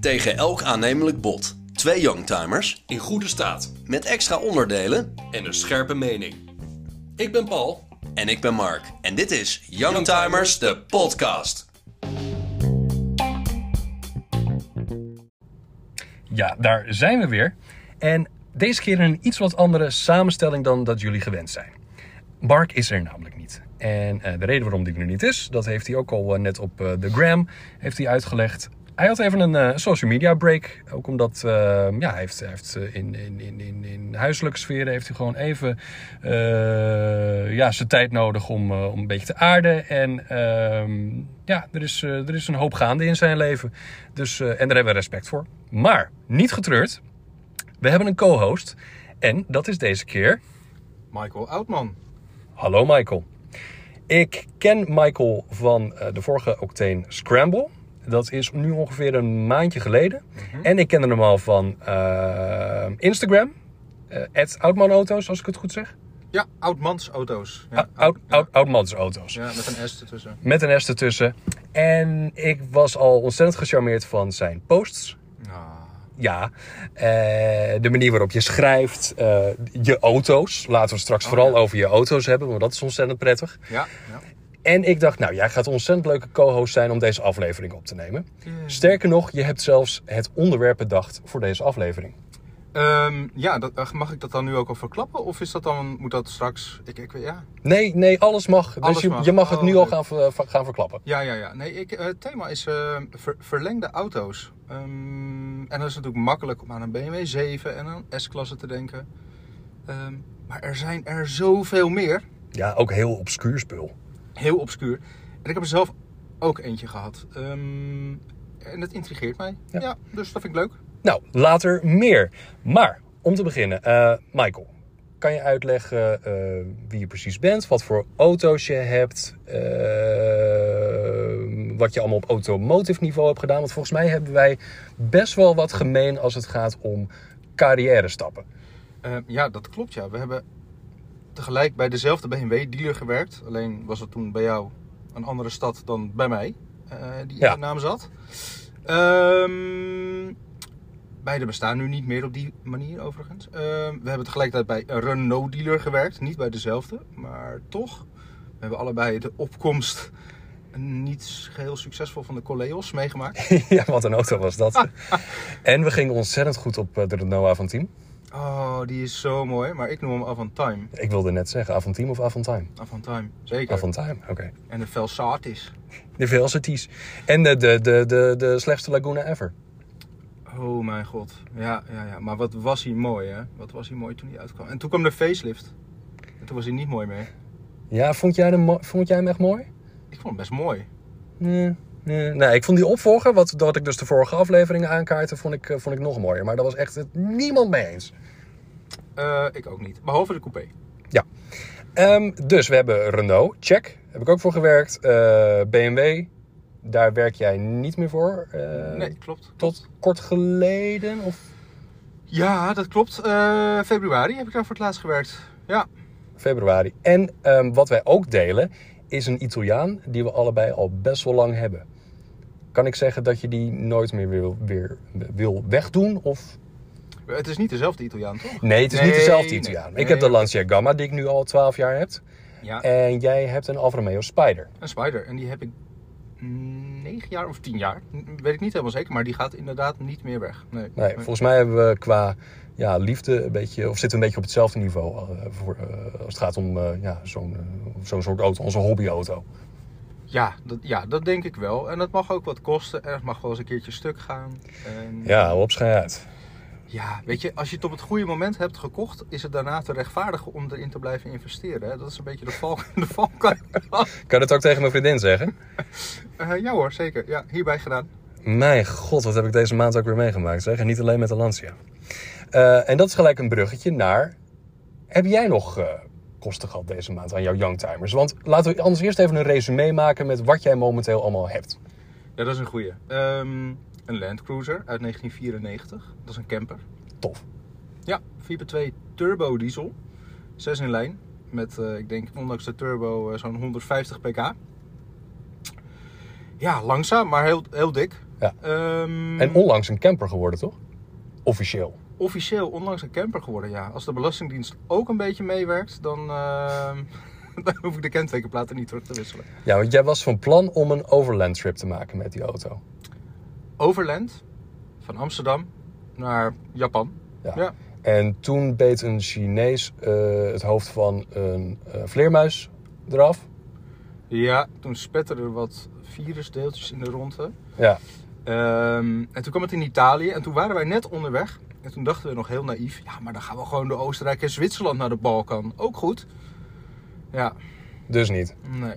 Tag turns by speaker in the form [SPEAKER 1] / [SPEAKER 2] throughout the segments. [SPEAKER 1] Tegen elk aannemelijk bod. Twee youngtimers
[SPEAKER 2] in goede staat
[SPEAKER 1] met extra onderdelen.
[SPEAKER 2] en een scherpe mening. Ik ben Paul.
[SPEAKER 1] En ik ben Mark. En dit is Youngtimers, de podcast.
[SPEAKER 2] Ja, daar zijn we weer. En deze keer in een iets wat andere samenstelling dan dat jullie gewend zijn. Mark is er namelijk niet. En eh, de reden waarom die er niet is, dat heeft hij ook al eh, net op eh, de gram heeft hij uitgelegd. Hij had even een eh, social media break. Ook omdat eh, ja, hij heeft, hij heeft eh, in, in, in, in, in huiselijke sferen heeft hij gewoon even eh, ja, zijn tijd nodig om, eh, om een beetje te aarden. En ehm, ja, er is, eh, er is een hoop gaande in zijn leven. Dus, eh, en daar hebben we respect voor. Maar niet getreurd. We hebben een co-host. En dat is deze keer.
[SPEAKER 3] Michael Oudman.
[SPEAKER 2] Hallo Michael. Ik ken Michael van eh, de vorige Octane Scramble. Dat is nu ongeveer een maandje geleden.
[SPEAKER 3] Mhm.
[SPEAKER 2] En ik kende hem al van eh, Instagram. Het Oudman Auto's, als ik het goed zeg.
[SPEAKER 3] Ja, Oudmansauto's. Ja,
[SPEAKER 2] Oud, oud,
[SPEAKER 3] ja.
[SPEAKER 2] Oudmans Auto's.
[SPEAKER 3] Ja, met een S ertussen.
[SPEAKER 2] Met een S ertussen. En ik was al ontzettend gecharmeerd van zijn posts.
[SPEAKER 3] Ah,
[SPEAKER 2] Ja, eh, de manier waarop je schrijft, eh, je auto's. Laten we het
[SPEAKER 3] Oh,
[SPEAKER 2] straks vooral over je auto's hebben, want dat is ontzettend prettig.
[SPEAKER 3] ja, ja.
[SPEAKER 2] En ik dacht, nou, jij gaat een ontzettend leuke co-host zijn om deze aflevering op te nemen.
[SPEAKER 3] Hmm.
[SPEAKER 2] Sterker nog, je hebt zelfs het onderwerp bedacht voor deze aflevering.
[SPEAKER 3] Ehm, ja dat, eh, mag ik dat dan nu ook al verklappen? Of is dat dan, moet dat straks... Ik, ik, ja.
[SPEAKER 2] Nee, nee, alles mag.
[SPEAKER 3] Alles
[SPEAKER 2] dus je
[SPEAKER 3] mag.
[SPEAKER 2] mag, je mag het
[SPEAKER 3] Oh,
[SPEAKER 2] nu al
[SPEAKER 3] leuk.
[SPEAKER 2] gaan, ver- ver- gaan verklappen.
[SPEAKER 3] ja, ja, ja. Nee, ik, eh, het thema is eh, ver- verlengde auto's. Ehm, en dat is natuurlijk makkelijk om aan een BMW 7 en een S-klasse te denken. Ehm, maar er zijn er zoveel meer.
[SPEAKER 2] Ja, ook heel obscuur spul.
[SPEAKER 3] Heel obscuur. En ik heb er zelf ook eentje gehad. Ehm, en dat intrigeert mij.
[SPEAKER 2] Ja.
[SPEAKER 3] ja, dus dat vind ik leuk.
[SPEAKER 2] Nou, later meer. Maar, om te beginnen, eh, Michael. Kan je uitleggen eh, wie je precies bent, wat voor auto's je hebt, eh, wat je allemaal op automotive niveau hebt gedaan? Want volgens mij hebben wij best wel wat gemeen als het gaat om carrière stappen.
[SPEAKER 3] Eh, ja, dat klopt ja. We hebben tegelijk bij dezelfde BMW dealer gewerkt. Alleen was het toen bij jou een andere stad dan bij mij. eh, die
[SPEAKER 2] Ja.
[SPEAKER 3] in de naam zat. Ehm, beide bestaan nu niet meer op die manier overigens. Ehm, we hebben tegelijkertijd bij een Renault dealer gewerkt. Niet bij dezelfde, maar toch. We hebben allebei de opkomst niet heel succesvol van de Coleos meegemaakt.
[SPEAKER 2] ja, wat een auto was dat. en we gingen ontzettend goed op eh, de Renault Avantime.
[SPEAKER 3] Oh, die is zo mooi. Maar ik noem hem Avantime.
[SPEAKER 2] Ik wilde net zeggen, Avantime of Avantime?
[SPEAKER 3] Avantime, zeker.
[SPEAKER 2] Avantime, oké.
[SPEAKER 3] En de Velsatis.
[SPEAKER 2] De Velocities. En de, de, de, de, de slechtste Laguna ever.
[SPEAKER 3] Oh mijn god. Ja, ja, ja. Maar wat was hij mooi, hè? Wat was hij mooi toen hij uitkwam. En toen kwam de facelift. En toen was hij niet mooi meer.
[SPEAKER 2] Ja, vond jij, hem mo- vond jij hem echt mooi?
[SPEAKER 3] Ik vond hem best mooi.
[SPEAKER 2] Nee, nee. Nee, Eh, nou, ik vond die opvolger, wat, wat ik dus de vorige afleveringen aankaartte, vond ik, eh, vond ik nog mooier. Maar daar was echt het niemand mee eens.
[SPEAKER 3] Eh, ik ook niet. Behalve de coupé.
[SPEAKER 2] Ja. Ehm, dus we hebben Renault, check. Heb ik ook voor gewerkt. Eh, BMW, daar werk jij niet meer voor. eh,
[SPEAKER 3] Nee, klopt.
[SPEAKER 2] Tot kort geleden? Of
[SPEAKER 3] Ja, dat klopt. Eh, februari heb ik daar voor het laatst gewerkt. Ja.
[SPEAKER 2] februari. En ehm, wat wij ook delen, is een Italiaan die we allebei al best wel lang hebben. Kan ik zeggen dat je die nooit meer wil, weer, wil wegdoen? Of
[SPEAKER 3] Het is niet dezelfde Italiaan, toch?
[SPEAKER 2] Nee, het is niet
[SPEAKER 3] Nee,
[SPEAKER 2] dezelfde
[SPEAKER 3] nee,
[SPEAKER 2] Italiaan.
[SPEAKER 3] nee.
[SPEAKER 2] ik heb de Lancia Gamma, die ik nu al 12 jaar heb.
[SPEAKER 3] Ja.
[SPEAKER 2] En jij hebt een Alfa Romeo Spider.
[SPEAKER 3] Een Spider. En die heb ik negen jaar of tien jaar. N- Weet ik niet helemaal zeker. Maar die gaat inderdaad niet meer weg. Nee.
[SPEAKER 2] Nee, volgens mij hebben we qua ja, liefde een beetje... of zitten we een beetje op hetzelfde niveau... eh, voor, eh, als het gaat om eh, ja, zo'n eh, zo'n soort auto, onze hobbyauto.
[SPEAKER 3] Ja, dat, ja, dat denk ik wel. En dat mag ook wat kosten. En het mag wel eens een keertje stuk gaan. En...
[SPEAKER 2] Ja, hou op schei uit.
[SPEAKER 3] Ja, weet je, als je het op het goede moment hebt gekocht, is het daarna te rechtvaardigen om erin te blijven investeren. Hè? Dat is een beetje de valk. De valk.
[SPEAKER 2] Kan je dat ook tegen mijn vriendin zeggen?
[SPEAKER 3] Eh, ja hoor, zeker. Ja, hierbij gedaan.
[SPEAKER 2] Mijn god, wat heb ik deze maand ook weer meegemaakt, zeg. En niet alleen met de Lancia. Eh, en dat is gelijk een bruggetje naar... Heb jij nog eh, kosten gehad deze maand aan jouw Youngtimers? Want laten we anders eerst even een resume maken met wat jij momenteel allemaal hebt.
[SPEAKER 3] Ja, dat is een goeie. Ehm, een Land Cruiser uit 1994. Dat is een camper.
[SPEAKER 2] Tof.
[SPEAKER 3] Ja, 4x2 turbo diesel. 6 in lijn. Met, eh, ik denk, ondanks de turbo eh, zo'n 150 pk. Ja, langzaam, maar heel, heel dik.
[SPEAKER 2] Ja.
[SPEAKER 3] Ehm,
[SPEAKER 2] En onlangs een camper geworden, toch? Officieel.
[SPEAKER 3] officieel onlangs een camper geworden, ja. Als de Belastingdienst ook een beetje meewerkt, dan, ehm, dan hoef ik de kentekenplaten niet terug te wisselen.
[SPEAKER 2] Ja, want jij was van plan om een overland trip te maken met die auto.
[SPEAKER 3] Overland, van Amsterdam naar Japan.
[SPEAKER 2] Ja.
[SPEAKER 3] Ja.
[SPEAKER 2] En toen beet een Chinees eh, het hoofd van een eh, vleermuis eraf.
[SPEAKER 3] Ja, toen spetterden er wat virusdeeltjes in de ronde.
[SPEAKER 2] Ja,
[SPEAKER 3] Ehm, en toen kwam het in Italië en toen waren wij net onderweg. En toen dachten we nog heel naïef, ja, maar dan gaan we gewoon door Oostenrijk en Zwitserland naar de Balkan. Ook goed. Ja,
[SPEAKER 2] dus niet.
[SPEAKER 3] nee.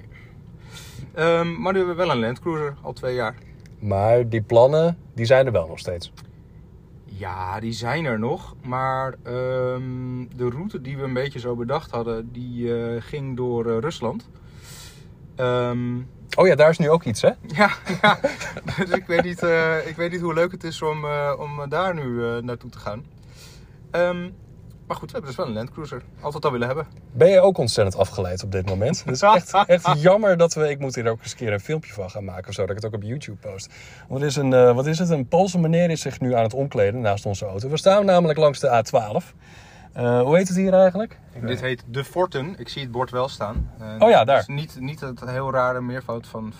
[SPEAKER 3] Ehm, maar nu hebben we wel een Landcruiser, al twee jaar.
[SPEAKER 2] Maar die plannen, die zijn er wel nog steeds.
[SPEAKER 3] Ja, die zijn er nog. Maar ehm, de route die we een beetje zo bedacht hadden, die eh, ging door eh, Rusland. Ehm,
[SPEAKER 2] Oh ja, daar is nu ook iets, hè?
[SPEAKER 3] ja, ja, dus ik weet, niet, eh, ik weet niet hoe leuk het is om, eh, om daar nu eh, naartoe te gaan. Ehm, maar goed, we hebben dus wel een Landcruiser. Altijd al willen hebben.
[SPEAKER 2] Ben je ook ontzettend afgeleid op dit moment? Het is echt, echt jammer dat we... Ik moet hier ook eens een keer een filmpje van gaan maken of zo. Dat ik het ook op YouTube post. Want er is een, eh, wat is het? Een Poolse meneer is zich nu aan het omkleden naast onze auto. We staan namelijk langs de A12. Eh, hoe heet het hier eigenlijk?
[SPEAKER 3] Dit heet De Forten. Ik zie het bord wel staan. Eh,
[SPEAKER 2] Oh ja, daar.
[SPEAKER 3] Dus niet, niet het heel rare meervoud van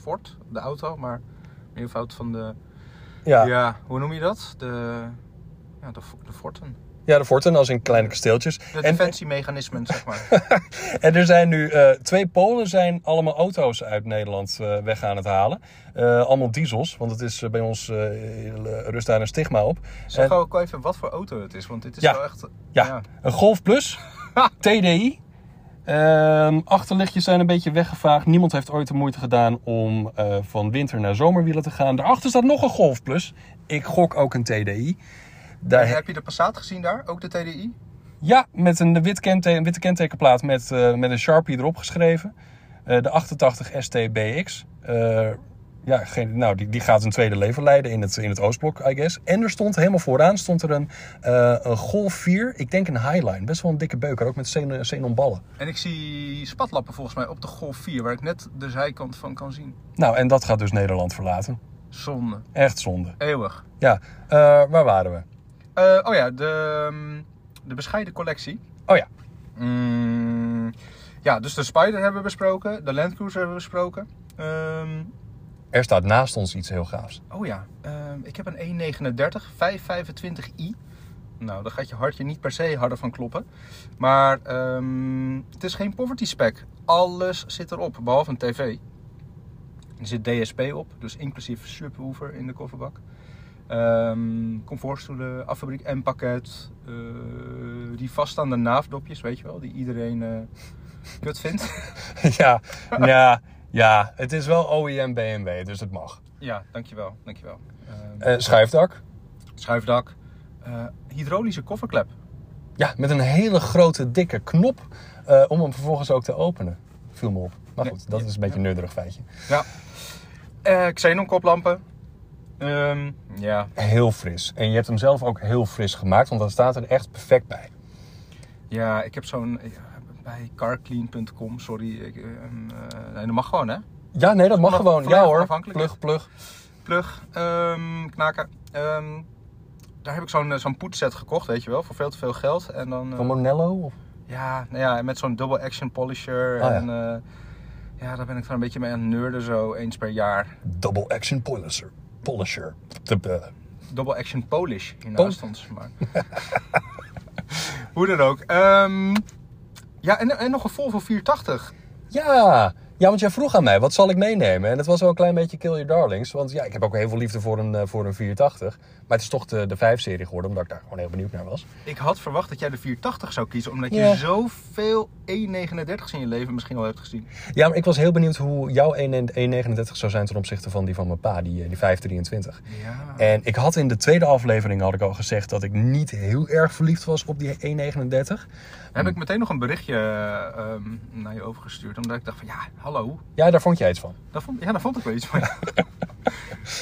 [SPEAKER 3] Ford, de auto, maar meervoud van de
[SPEAKER 2] Ja,
[SPEAKER 3] Ja.
[SPEAKER 2] ja.
[SPEAKER 3] hoe noem je dat? De, ja, de, fo- de forten.
[SPEAKER 2] de Forten als in kleine kasteeltjes.
[SPEAKER 3] De
[SPEAKER 2] En,
[SPEAKER 3] defensiemechanismen, zeg maar.
[SPEAKER 2] en er zijn nu eh, twee Polen zijn allemaal auto's uit Nederland eh, weg aan het halen. Eh, allemaal diesels, want het is eh, bij ons eh, rust daar een stigma op.
[SPEAKER 3] Zeg
[SPEAKER 2] En-
[SPEAKER 3] ook even wat voor auto het is, want dit is
[SPEAKER 2] Ja.
[SPEAKER 3] wel echt...
[SPEAKER 2] Ja, een Golf Plus. TDI. Ehm, achterlichtjes zijn een beetje weggevaagd. Niemand heeft ooit de moeite gedaan om eh, van winter naar zomerwielen te gaan. Daarachter staat nog een Golf Plus. Ik gok ook een TDI. Daar
[SPEAKER 3] En Heb je de Passat gezien daar? Ook de TDI?
[SPEAKER 2] ja, met een, wit kente- een witte kentekenplaat met, eh, met een Sharpie erop geschreven. Eh, de 88 STBX. Eh, ja, geen, nou, die, die gaat een tweede leven leiden in het, in het Oostblok, I guess. En er stond helemaal vooraan stond er een, eh, een Golf 4, ik denk een Highline. Best wel een dikke beuker, ook met xenon- xenonballen.
[SPEAKER 3] En ik zie spatlappen volgens mij op de Golf 4, waar ik net de zijkant van kan zien.
[SPEAKER 2] Nou, en dat gaat dus Nederland verlaten.
[SPEAKER 3] Zonde.
[SPEAKER 2] Echt zonde.
[SPEAKER 3] Eeuwig.
[SPEAKER 2] Ja, eh, waar waren we?
[SPEAKER 3] Eh, oh ja, de, ehm, de bescheiden collectie.
[SPEAKER 2] Oh ja,
[SPEAKER 3] Mm, ja, dus de Spider hebben we besproken. De Land Cruiser hebben we besproken. Ehm,
[SPEAKER 2] er staat naast ons iets heel gaafs.
[SPEAKER 3] Oh ja, ehm, ik heb een 1,39, 525i. Nou, daar gaat je hartje niet per se harder van kloppen. Maar ehm, het is geen poverty spec. Alles zit erop, behalve een tv. Er zit DSP op, dus inclusief subwoofer in de kofferbak. Ehm comfortstoelen, affabriek en pakket. eh, die vaststaande naafdopjes, weet je wel, die iedereen eh, kut vindt.
[SPEAKER 2] ja, ja, ja, het is wel OEM BMW, dus het mag.
[SPEAKER 3] ja, dankjewel, dankjewel. Ehm,
[SPEAKER 2] Eh schuifdak.
[SPEAKER 3] schuifdak. eh, hydraulische kofferklep.
[SPEAKER 2] Ja, met een hele grote, dikke knop eh, om hem vervolgens ook te openen. Viel me op. Maar
[SPEAKER 3] Ja,
[SPEAKER 2] goed, dat
[SPEAKER 3] ja,
[SPEAKER 2] is een beetje een nerderig feitje.
[SPEAKER 3] Ja. Eh xenon koplampen. Ehm, ja.
[SPEAKER 2] Heel fris. En je hebt hem zelf ook heel fris gemaakt, want dat staat er echt perfect bij.
[SPEAKER 3] ja, ik heb zo'n... ja, bij carclean.com, sorry. Ik, ehm, eh, nee, dat mag gewoon, hè?
[SPEAKER 2] Ja, nee, dat mag
[SPEAKER 3] Vanaf-
[SPEAKER 2] gewoon. Ja
[SPEAKER 3] volledig
[SPEAKER 2] hoor.
[SPEAKER 3] onafhankelijk,
[SPEAKER 2] Plug, plug.
[SPEAKER 3] Plug, ehm, knaken. Ehm, daar heb ik zo'n eh, zo'n poetset gekocht, weet je wel. Voor veel te veel geld. En dan... eh,
[SPEAKER 2] Van Monello? Of?
[SPEAKER 3] ja, nou ja, en met zo'n double action polisher.
[SPEAKER 2] Ah, ja.
[SPEAKER 3] en Oh, ja. ja, daar ben ik dan een beetje mee aan het nerden zo, eens per jaar.
[SPEAKER 2] Double Action Polisher. Polisher. Tup, eh.
[SPEAKER 3] Double action polish
[SPEAKER 2] Pol-
[SPEAKER 3] hiernaast stond ze maar. Hoe dan ook. Ehm, ja, en, en nog een Volvo 480.
[SPEAKER 2] Ja. ja, want jij vroeg aan mij, wat zal ik meenemen? En het was wel een klein beetje Kill Your Darlings. Want ja, ik heb ook heel veel liefde voor een, eh, voor een 480. Maar het is toch de, de 5-serie geworden, omdat ik daar gewoon heel benieuwd naar was.
[SPEAKER 3] Ik had verwacht dat jij de 480 zou kiezen, omdat
[SPEAKER 2] Ja.
[SPEAKER 3] je zoveel E39's in je leven misschien al hebt gezien.
[SPEAKER 2] Ja, maar ik was heel benieuwd hoe jouw 139 zou zijn ten opzichte van die van mijn pa, die, eh, die 523.
[SPEAKER 3] Ja.
[SPEAKER 2] En ik had in de tweede aflevering had ik al gezegd dat ik niet heel erg verliefd was op die 139.
[SPEAKER 3] Heb ik meteen nog een berichtje eh, ehm, naar je overgestuurd, omdat ik dacht van ja, hallo.
[SPEAKER 2] Ja, daar vond jij iets van.
[SPEAKER 3] Daar vond, ja, daar vond ik wel iets van.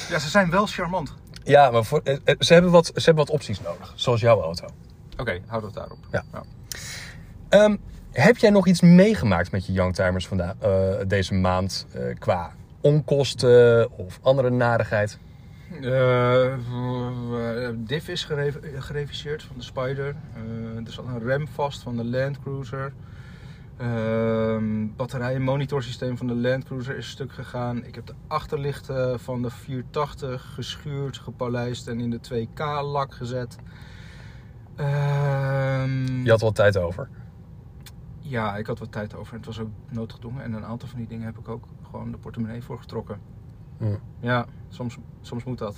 [SPEAKER 3] ja, ze zijn wel charmant.
[SPEAKER 2] Ja, maar voor, eh, eh, ze, hebben wat, ze hebben wat opties nodig, zoals jouw auto.
[SPEAKER 3] Oké, houden we het daarop.
[SPEAKER 2] Ja. Ehm, heb jij nog iets meegemaakt met je Youngtimers vandaag, eh, deze maand eh, qua onkosten of andere narigheid?
[SPEAKER 3] Eh, eh, diff is gereve- gereviseerd van de Spider. Eh, er zat een rem vast van de Land Cruiser. Ehm batterijen monitorsysteem van de Land Cruiser is stuk gegaan. Ik heb de achterlichten van de 480 geschuurd, gepolijst en in de 2K lak gezet. Ehm,
[SPEAKER 2] Je had wel tijd over.
[SPEAKER 3] Ja, ik had wat tijd over. Het was ook noodgedwongen. En een aantal van die dingen heb ik ook gewoon de portemonnee voor getrokken.
[SPEAKER 2] Hm.
[SPEAKER 3] Ja, soms, soms moet dat.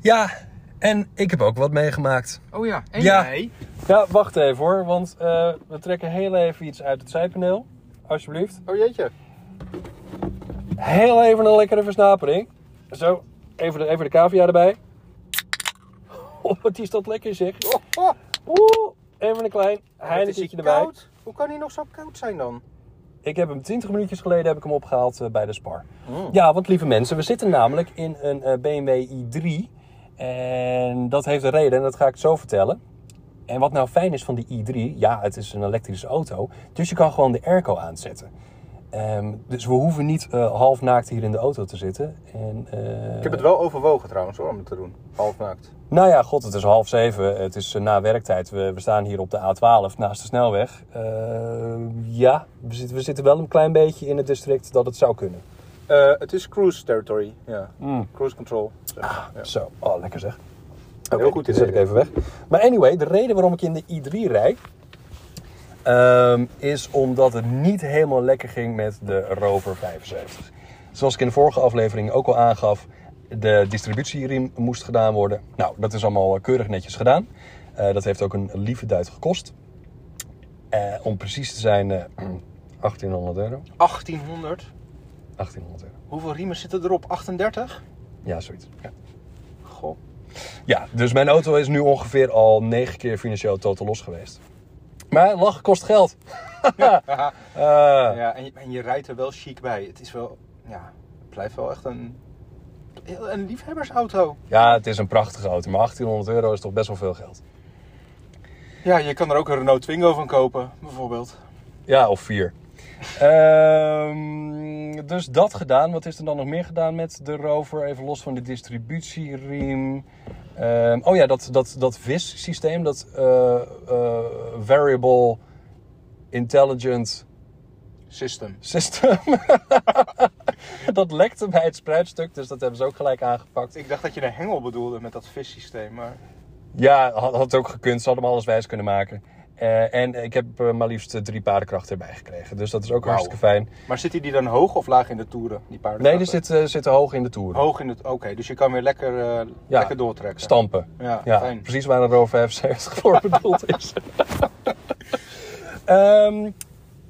[SPEAKER 2] Ja, en ik heb ook wat meegemaakt.
[SPEAKER 3] Oh ja, en
[SPEAKER 2] Ja.
[SPEAKER 3] jij?
[SPEAKER 2] Ja, wacht even hoor, want eh, we trekken heel even iets uit het zijpaneel. Alsjeblieft.
[SPEAKER 3] Oh jeetje.
[SPEAKER 2] Heel even een lekkere versnapering. Zo, even de, even de cavia erbij. Oh, wat is dat lekker zeg.
[SPEAKER 3] Oh, oh,
[SPEAKER 2] Oeh, even een klein
[SPEAKER 3] wat is
[SPEAKER 2] heineketje
[SPEAKER 3] die
[SPEAKER 2] erbij.
[SPEAKER 3] koud? Hoe kan hij nog zo koud zijn dan?
[SPEAKER 2] Ik heb hem 20 minuutjes geleden heb ik hem opgehaald eh, bij de Spar. Ja, want lieve mensen, we zitten namelijk in een eh, BMW i3. En dat heeft een reden en dat ga ik zo vertellen. En wat nou fijn is van die i3, ja, het is een elektrische auto. Dus je kan gewoon de airco aanzetten. Ehm, dus we hoeven niet eh half naakt hier in de auto te zitten. En, eh,
[SPEAKER 3] Ik heb het wel overwogen trouwens hoor, om het te doen. Halfnaakt.
[SPEAKER 2] nou ja, god, het is half zeven. Het is eh, na werktijd. We, we staan hier op de A12 naast de snelweg. Eh, ja, we zitten, we zitten wel een klein beetje in het district dat het zou kunnen.
[SPEAKER 3] Eh, het is cruise territory. Ja. Cruise control. zeg. Ja.
[SPEAKER 2] Zo, oh, lekker zeg.
[SPEAKER 3] Heel goed
[SPEAKER 2] dit
[SPEAKER 3] idee,
[SPEAKER 2] zet ik even weg. Maar anyway, de reden waarom ik in de i3 rijd... ehm, is omdat het niet helemaal lekker ging met de Rover 75. Zoals ik in de vorige aflevering ook al aangaf... de distributieriem moest gedaan worden. Nou, dat is allemaal keurig netjes gedaan. Eh, dat heeft ook een lieve duit gekost. Eh, om precies te zijn, eh, 1800 euro.
[SPEAKER 3] 1800.
[SPEAKER 2] 1800 euro.
[SPEAKER 3] Hoeveel riemen zitten erop? 38?
[SPEAKER 2] Ja, zoiets. Ja.
[SPEAKER 3] Goh.
[SPEAKER 2] Ja, dus mijn auto is nu ongeveer al negen keer financieel totaal los geweest. Maar lachen kost geld.
[SPEAKER 3] Haha.
[SPEAKER 2] Eh,
[SPEAKER 3] Ja, en je, en je rijdt er wel chic bij. Het is wel, ja, het blijft wel echt een, een liefhebbersauto.
[SPEAKER 2] ja, het is een prachtige auto, maar 1800 euro is toch best wel veel geld.
[SPEAKER 3] Ja, je kan er ook een Renault Twingo van kopen, bijvoorbeeld.
[SPEAKER 2] Ja, of vier. Ehm, dus dat gedaan. Wat is er dan nog meer gedaan met de rover? Even los van de distributieriem. Ehm, oh ja, dat, dat, dat VIS-systeem, dat eh, eh, Variable Intelligent
[SPEAKER 3] System.
[SPEAKER 2] System. dat lekte bij het spruitstuk, dus dat hebben ze ook gelijk aangepakt.
[SPEAKER 3] Ik dacht dat je de hengel bedoelde met dat vissysteem, maar...
[SPEAKER 2] Ja, had, had ook gekund. Ze hadden hem alles wijs kunnen maken. Eh, en ik heb eh, maar liefst eh, drie paardenkrachten erbij gekregen. Dus dat is ook
[SPEAKER 3] Wauw.
[SPEAKER 2] hartstikke fijn.
[SPEAKER 3] Maar zitten die dan hoog of laag in de toeren, die paarden?
[SPEAKER 2] Nee, die zitten, eh, zitten hoog in de toeren.
[SPEAKER 3] Hoog in het... Oké, dus je kan weer lekker, eh,
[SPEAKER 2] Ja,
[SPEAKER 3] lekker doortrekken.
[SPEAKER 2] Stampen.
[SPEAKER 3] Ja,
[SPEAKER 2] Ja,
[SPEAKER 3] fijn.
[SPEAKER 2] precies waar een Rover 75 voor bedoeld is. Ehm,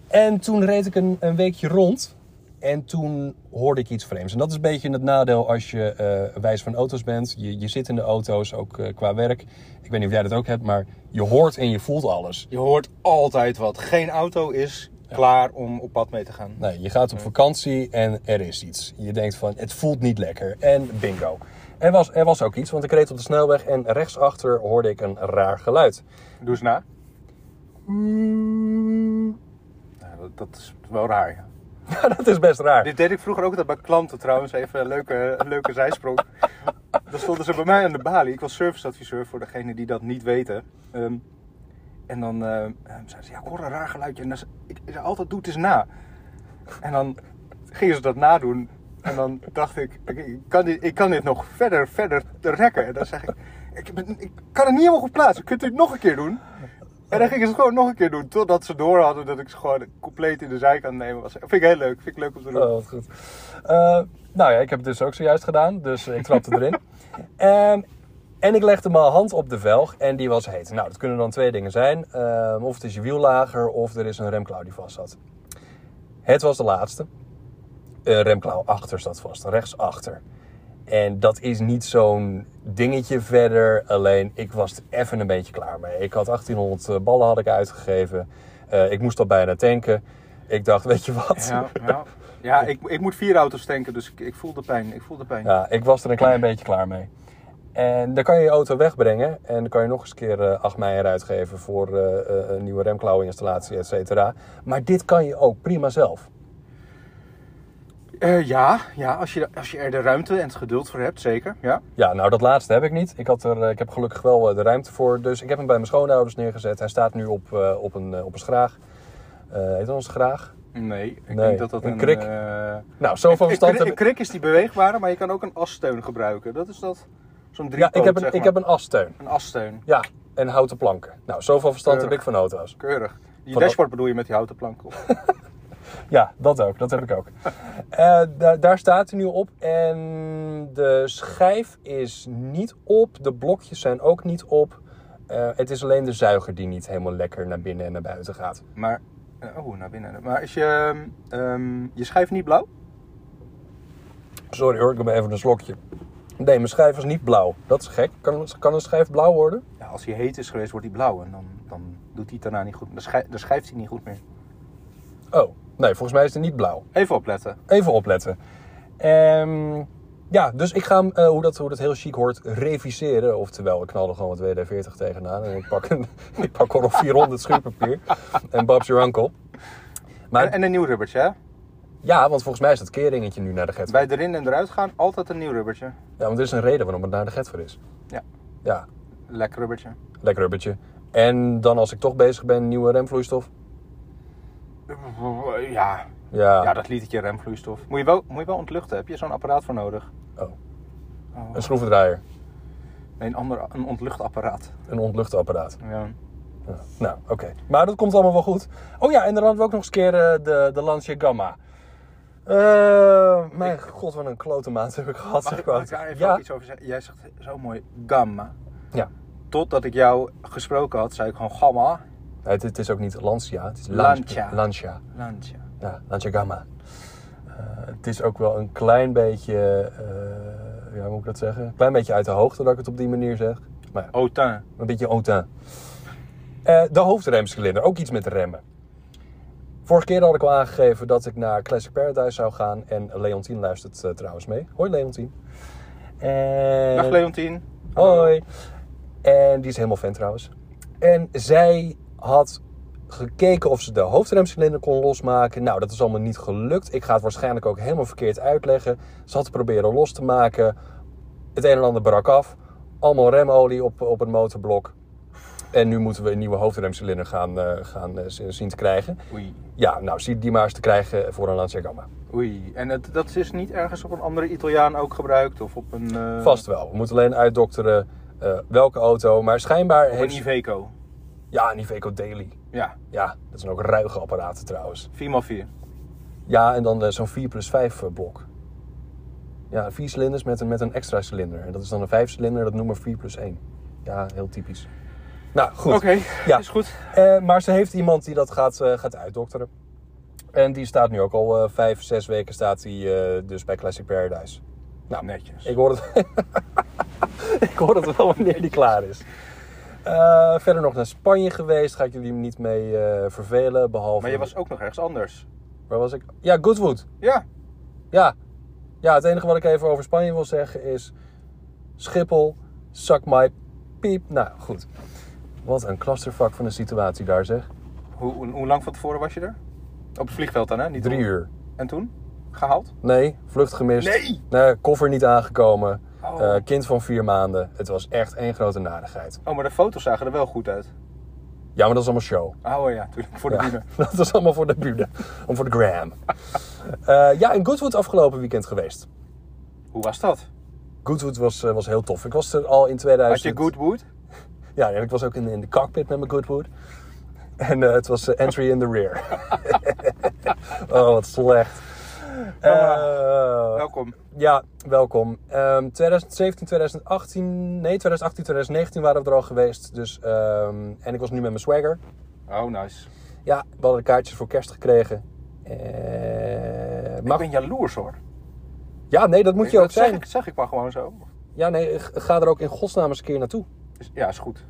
[SPEAKER 2] en toen reed ik een, een weekje rond. En toen hoorde ik iets vreemds. En dat is een beetje het nadeel als je eh, wijs van auto's bent. Je, je zit in de auto's, ook eh, qua werk. Ik weet niet of jij dat ook hebt, maar je hoort en je voelt alles.
[SPEAKER 3] Je hoort altijd wat. Geen auto is klaar om op pad mee te gaan.
[SPEAKER 2] Nee, je gaat op vakantie en er is iets. Je denkt van, het voelt niet lekker. En bingo. Er was, er was ook iets, want ik reed op de snelweg en rechtsachter hoorde ik een raar geluid.
[SPEAKER 3] Doe eens na. Nou, dat, dat is wel raar, ja.
[SPEAKER 2] Ja, dat is best raar.
[SPEAKER 3] Dit deed ik vroeger ook altijd bij klanten trouwens. Even een leuke, een leuke zijsprong. Dan stonden ze bij mij aan de balie. Ik was serviceadviseur voor degenen die dat niet weten. Ehm, en dan eh, ehm, zeiden ze, ja, ik hoor een raar geluidje. En dan, ze- ik, ik zei altijd, doe het eens na. En dan gingen ze dat nadoen. En dan dacht ik, ik, ik kan, dit, ik kan dit nog verder, verder rekken. En dan zeg ik, ik, ben- ik kan het niet helemaal goed plaatsen. Kunt u het nog een keer doen? En dan gingen ze het gewoon nog een keer doen. Totdat ze door hadden dat ik ze gewoon compleet in de zijkant nemen was. Vind ik heel leuk. Vind ik leuk om te doen.
[SPEAKER 2] Oh, wat goed. Eh, nou ja, ik heb het dus ook zojuist gedaan, dus ik trapte erin. Ehm, en ik legde mijn hand op de velg en die was heet. Nou, dat kunnen dan twee dingen zijn. Ehm, of het is je wiellager of er is een remklauw die vast zat. Het was de laatste. Een remklauw achter zat vast, rechts achter. En dat is niet zo'n dingetje verder. Alleen ik was er even een beetje klaar mee. Ik had 1800 ballen had ik uitgegeven. Eh, ik moest al bijna tanken. Ik dacht, weet je wat?
[SPEAKER 3] Ja, ja. ja ik, ik moet vier auto's tanken, dus ik, ik voel de pijn. Ik voel de pijn.
[SPEAKER 2] Ja, ik was er een klein beetje klaar mee. En dan kan je je auto wegbrengen en dan kan je nog eens een keer eh 8 mei eruit geven voor eh, eh, een nieuwe remklauwinstallatie, et cetera. Maar dit kan je ook prima zelf.
[SPEAKER 3] Eh, ja, ja als, je, als je er de ruimte en het geduld voor hebt, zeker. Ja.
[SPEAKER 2] Ja, nou dat laatste heb ik niet. Ik, had er, eh, ik heb gelukkig wel eh, de ruimte voor. Dus ik heb hem bij mijn schoonouders neergezet. Hij staat nu op, eh, op, een, eh, op een schraag. Eh heet dat een schraag?
[SPEAKER 3] Nee, ik
[SPEAKER 2] Nee,
[SPEAKER 3] denk dat dat
[SPEAKER 2] een
[SPEAKER 3] een...
[SPEAKER 2] krik.
[SPEAKER 3] eh,
[SPEAKER 2] Nou, zoveel
[SPEAKER 3] een- een
[SPEAKER 2] verstand
[SPEAKER 3] kri-
[SPEAKER 2] heb
[SPEAKER 3] Een krik is die beweegbare, maar je kan ook een assteun gebruiken. Dat is dat, zo'n
[SPEAKER 2] Ja,
[SPEAKER 3] driepoot,
[SPEAKER 2] ik heb, een,
[SPEAKER 3] zeg
[SPEAKER 2] ik
[SPEAKER 3] maar.
[SPEAKER 2] heb een assteun.
[SPEAKER 3] Een assteun,
[SPEAKER 2] Ja, en houten planken. Nou, zoveel verstand heb ik
[SPEAKER 3] Keurig.
[SPEAKER 2] van auto's.
[SPEAKER 3] keurig. Je
[SPEAKER 2] Van-
[SPEAKER 3] dashboard bedoel je met die houten plank op.
[SPEAKER 2] Ja, dat ook. Dat heb ik ook. Eh, daar, daar staat hij nu op. En de schijf is niet op. De blokjes zijn ook niet op. Eh, het is alleen de zuiger die niet helemaal lekker naar binnen en naar buiten gaat.
[SPEAKER 3] Maar, eh, oh, naar binnen. Maar is je, ehm, ehm, je schijf niet blauw?
[SPEAKER 2] Sorry hoor, ik heb even een slokje. Nee, mijn schijf is niet blauw. Dat is gek. Kan, kan een schijf blauw worden?
[SPEAKER 3] Ja, als hij heet is geweest, wordt hij blauw en dan, dan doet hij het daarna niet goed. Dan, schij- dan schijft hij niet goed meer.
[SPEAKER 2] Oh, nee, volgens mij is het niet blauw.
[SPEAKER 3] Even opletten.
[SPEAKER 2] Even opletten. Ehm, ja, dus ik ga hem, eh, hoe, dat, hoe dat heel chic hoort, reviseren. Oftewel, ik knal er gewoon wat WD-40 tegenaan. En ik pak, een, ik pak gewoon 400 schuurpapier. En Bob's your uncle. Maar
[SPEAKER 3] En, en een nieuw rubbertje, hè?
[SPEAKER 2] ja, want volgens mij is dat keringetje nu naar de get.
[SPEAKER 3] Bij erin en eruit gaan, altijd een nieuw rubbertje.
[SPEAKER 2] Ja, want er is een reden waarom het naar de get voor is.
[SPEAKER 3] Ja.
[SPEAKER 2] Ja,
[SPEAKER 3] Lekker rubbertje.
[SPEAKER 2] lekker rubbertje. En dan als ik toch bezig ben, nieuwe remvloeistof.
[SPEAKER 3] Ja, ja dat litertje remvloeistof. Moet je wel, moet je wel ontluchten, heb je zo'n apparaat voor nodig?
[SPEAKER 2] Oh.
[SPEAKER 3] Oh.
[SPEAKER 2] Een schroevendraaier.
[SPEAKER 3] Nee, een, ander, een ontluchtapparaat.
[SPEAKER 2] Een ontluchtapparaat.
[SPEAKER 3] Ja.
[SPEAKER 2] Ja. Nou, oké. Maar dat komt allemaal wel goed. Oh ja, en dan hadden we ook nog eens een keer eh, de, de Lancia Gamma. Eh, mijn god, wat een klote maand heb ik gehad.
[SPEAKER 3] Mag
[SPEAKER 2] zeg
[SPEAKER 3] ik,
[SPEAKER 2] maar.
[SPEAKER 3] mag ik daar even
[SPEAKER 2] ja,
[SPEAKER 3] ook iets over zeggen? Jij zegt zo mooi gamma.
[SPEAKER 2] Ja.
[SPEAKER 3] Totdat ik jou gesproken had, zei ik gewoon gamma.
[SPEAKER 2] Nee, het, het is ook niet Lancia, het is
[SPEAKER 3] Lancia.
[SPEAKER 2] Lancia. Lancia.
[SPEAKER 3] Lancia.
[SPEAKER 2] Ja, Lancia Gamma. Eh, het is ook wel een klein beetje, eh, ja, hoe moet ik dat zeggen? Een klein beetje uit de hoogte dat ik het op die manier zeg. Maar ja,
[SPEAKER 3] Autain.
[SPEAKER 2] Een beetje autain. Eh, de hoofdremcilinder, ook iets met remmen. Vorige keer had ik al aangegeven dat ik naar Classic Paradise zou gaan. En Leontien luistert eh, trouwens mee. Hoi Leontien. En...
[SPEAKER 3] Dag Leontien.
[SPEAKER 2] Hoi. En die is helemaal fan trouwens. En zij had gekeken of ze de hoofdremcilinder kon losmaken. Nou, dat is allemaal niet gelukt. Ik ga het waarschijnlijk ook helemaal verkeerd uitleggen. Ze had het proberen los te maken. Het een en ander brak af. Allemaal remolie op, op het motorblok. En nu moeten we een nieuwe hoofdremcilinder gaan, eh, gaan eh, zien te krijgen.
[SPEAKER 3] Oei.
[SPEAKER 2] Ja, nou, zie die maar eens te krijgen voor een Lancia Gamma.
[SPEAKER 3] Oei. En het, dat is niet ergens op een andere Italiaan ook gebruikt? Of op een... eh,
[SPEAKER 2] Vast wel. We moeten alleen uitdokteren eh, welke auto. Maar schijnbaar
[SPEAKER 3] Op een
[SPEAKER 2] heeft... ze-
[SPEAKER 3] Iveco.
[SPEAKER 2] Ja, een Iveco Daily.
[SPEAKER 3] Ja.
[SPEAKER 2] Ja, dat zijn ook ruige apparaten trouwens.
[SPEAKER 3] 4x4.
[SPEAKER 2] Ja, en dan eh, zo'n 4 plus 5 eh, blok. Ja, vier cilinders met een, met een extra cilinder. En dat is dan een vijf cilinder, dat noemen we 4 plus 1. Ja, heel typisch. Nou, goed.
[SPEAKER 3] Oké,
[SPEAKER 2] Ja.
[SPEAKER 3] is goed.
[SPEAKER 2] Eh, maar ze heeft iemand die dat gaat, eh, gaat uitdokteren. En die staat nu ook al eh, vijf, zes weken staat die, eh, dus bij Classic Paradise. Nou,
[SPEAKER 3] Netjes.
[SPEAKER 2] ik hoor het, ik hoor het wel wanneer die klaar is. Eh, verder nog naar Spanje geweest. Ga ik jullie niet mee eh, vervelen. Behalve
[SPEAKER 3] Maar je was ook nog ergens anders.
[SPEAKER 2] Waar was ik? Ja, Goodwood.
[SPEAKER 3] Ja.
[SPEAKER 2] Ja. Ja, het enige wat ik even over Spanje wil zeggen is... Schiphol, zak my piep. Nou, goed. Wat een clustervak van een situatie daar, zeg.
[SPEAKER 3] Hoe, hoe, hoe lang van tevoren was je er? Op het vliegveld dan, hè? Niet
[SPEAKER 2] Drie
[SPEAKER 3] om-
[SPEAKER 2] uur.
[SPEAKER 3] En toen? Gehaald?
[SPEAKER 2] Nee, vlucht gemist.
[SPEAKER 3] Nee!
[SPEAKER 2] koffer niet aangekomen.
[SPEAKER 3] Oh.
[SPEAKER 2] Eh, kind van vier maanden. Het was echt één grote narigheid.
[SPEAKER 3] Oh, maar de foto's zagen er wel goed uit.
[SPEAKER 2] Ja, maar dat is allemaal show.
[SPEAKER 3] Oh ja, natuurlijk. Voor de
[SPEAKER 2] Ja,
[SPEAKER 3] bühne.
[SPEAKER 2] dat is allemaal voor de buren. Om voor de gram. Eh, ja, in Goodwood afgelopen weekend geweest.
[SPEAKER 3] Hoe was dat?
[SPEAKER 2] Goodwood was, eh, was heel tof. Ik was er al in
[SPEAKER 3] Had
[SPEAKER 2] 2000...
[SPEAKER 3] je good wood?
[SPEAKER 2] Ja, en ik was ook in, in de cockpit met mijn Goodwood. En eh, het was eh, entry in the rear. oh, wat slecht. Eh,
[SPEAKER 3] Welkom.
[SPEAKER 2] ja, welkom. Ehm, 2017, 2018, nee, 2018, 2019 waren we er al geweest. Dus, ehm, en ik was nu met mijn swagger.
[SPEAKER 3] Oh, nice.
[SPEAKER 2] Ja, we hadden de kaartjes voor kerst gekregen. Eh,
[SPEAKER 3] Ik
[SPEAKER 2] maar,
[SPEAKER 3] ben jaloers hoor.
[SPEAKER 2] Ja, nee, dat moet je
[SPEAKER 3] dat
[SPEAKER 2] ook zijn.
[SPEAKER 3] Zeg ik, zeg ik maar gewoon zo.
[SPEAKER 2] Ja, nee, g- ga er ook in godsnaam eens een keer naartoe.
[SPEAKER 3] Is- Ja, is goed.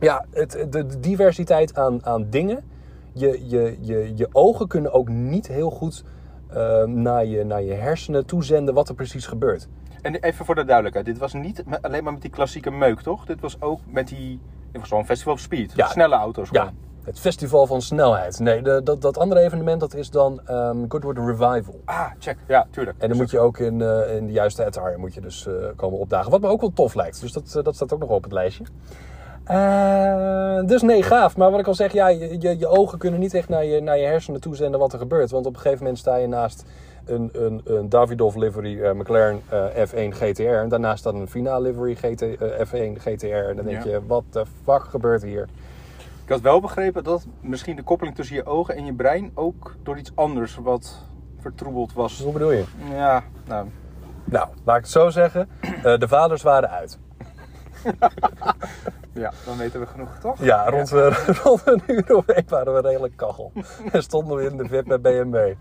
[SPEAKER 2] Ja, het, de, de diversiteit aan, aan dingen. Je, je, je, je ogen kunnen ook niet heel goed eh, naar, je, naar je hersenen toezenden wat er precies gebeurt.
[SPEAKER 3] En even voor de duidelijkheid. Dit was niet me- alleen maar met die klassieke meuk, toch? Dit was ook met die... Dit was gewoon Festival of Speed.
[SPEAKER 2] Ja.
[SPEAKER 3] Snelle auto's
[SPEAKER 2] Ja,
[SPEAKER 3] gewoon.
[SPEAKER 2] Het festival van snelheid. Nee, de- dat, dat andere evenement dat is dan ehm Goodwood Revival.
[SPEAKER 3] Ah, check. Ja, tuurlijk.
[SPEAKER 2] En dan moet je ook in, eh, in de juiste attire moet je dus, eh, komen opdagen. Wat me ook wel tof lijkt. Dus dat, eh, dat staat ook nog wel op het lijstje. Eh, dus nee, gaaf. Maar wat ik al zeg, ja, je, je, je ogen kunnen niet echt naar je, naar je hersenen toezenden wat er gebeurt. Want op een gegeven moment sta je naast een, een, een Davidoff livery eh, McLaren eh, F1 GTR. En daarnaast staat een Fina livery GT, eh, F1 GTR. En dan denk
[SPEAKER 3] Ja.
[SPEAKER 2] je, wat de fuck gebeurt hier?
[SPEAKER 3] Ik had wel begrepen dat misschien de koppeling tussen je ogen en je brein ook door iets anders wat vertroebeld
[SPEAKER 2] Dus
[SPEAKER 3] was.
[SPEAKER 2] hoe bedoel je?
[SPEAKER 3] Ja, nou.
[SPEAKER 2] Nou, laat ik het zo zeggen. Eh, de vaders waren uit.
[SPEAKER 3] Ja, dan weten we genoeg, toch?
[SPEAKER 2] Ja, rond, eh, rond een uur of één waren we redelijk kachel. En stonden we in de VIP bij BMW.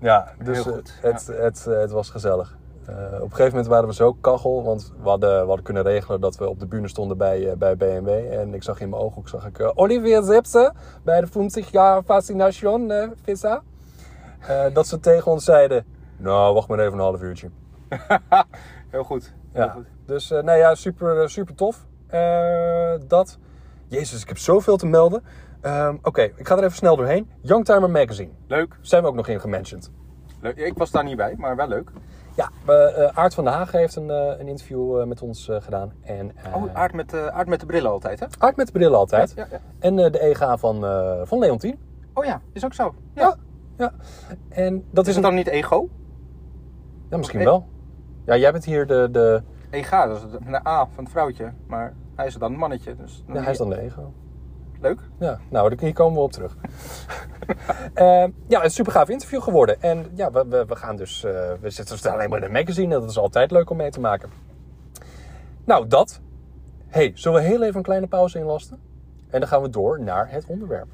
[SPEAKER 2] Ja, dus
[SPEAKER 3] Heel goed,
[SPEAKER 2] eh, het, het, eh, het was gezellig. Eh, op een gegeven moment waren we zo kachel, want we hadden, we hadden kunnen regelen dat we op de bühne stonden bij, eh, bij BMW. En ik zag in mijn ooghoek, zag ik eh, Olivier Zipse bij de 50 jaar Fascination eh, Visa. Eh, dat ze tegen ons zeiden, nou wacht maar even een half uurtje.
[SPEAKER 3] Heel goed. Heel
[SPEAKER 2] Ja.
[SPEAKER 3] goed.
[SPEAKER 2] Dus eh nou ja, super, eh, super tof. Eh, dat. Jezus, ik heb zoveel te melden. Ehm, Oké, ik ga er even snel doorheen. Youngtimer Magazine.
[SPEAKER 3] Leuk.
[SPEAKER 2] Zijn we ook nog in gementiond.
[SPEAKER 3] leuk. Ik was daar niet bij, maar wel leuk.
[SPEAKER 2] Ja, we, eh, Aart van der Haag heeft een, eh, een interview eh, met ons eh, gedaan. En, eh,
[SPEAKER 3] Oh, aard met, eh, aard met de brillen altijd, hè?
[SPEAKER 2] Aart met de brillen altijd.
[SPEAKER 3] Ja, ja.
[SPEAKER 2] En eh, de EGA van, eh, van Leontien.
[SPEAKER 3] Oh ja, is ook zo. Ja.
[SPEAKER 2] Ja. ja. En dat
[SPEAKER 3] Is
[SPEAKER 2] is
[SPEAKER 3] het
[SPEAKER 2] een...
[SPEAKER 3] dan niet ego?
[SPEAKER 2] Ja, misschien
[SPEAKER 3] Eh.
[SPEAKER 2] wel. Ja, jij bent hier de... de...
[SPEAKER 3] Ega, dat is het- de A van het vrouwtje. Maar hij is dan een mannetje. Dus
[SPEAKER 2] Ja, hij is dan de EGA.
[SPEAKER 3] Leuk.
[SPEAKER 2] Ja, nou, hier komen we op terug. Eh, ja, een super gaaf interview geworden. En ja, we, we, we gaan dus. eh, we zitten staan alleen maar in een magazine. Dat is altijd leuk om mee te maken. Nou, dat. hey, zullen we heel even een kleine pauze inlasten? En dan gaan we door naar het onderwerp.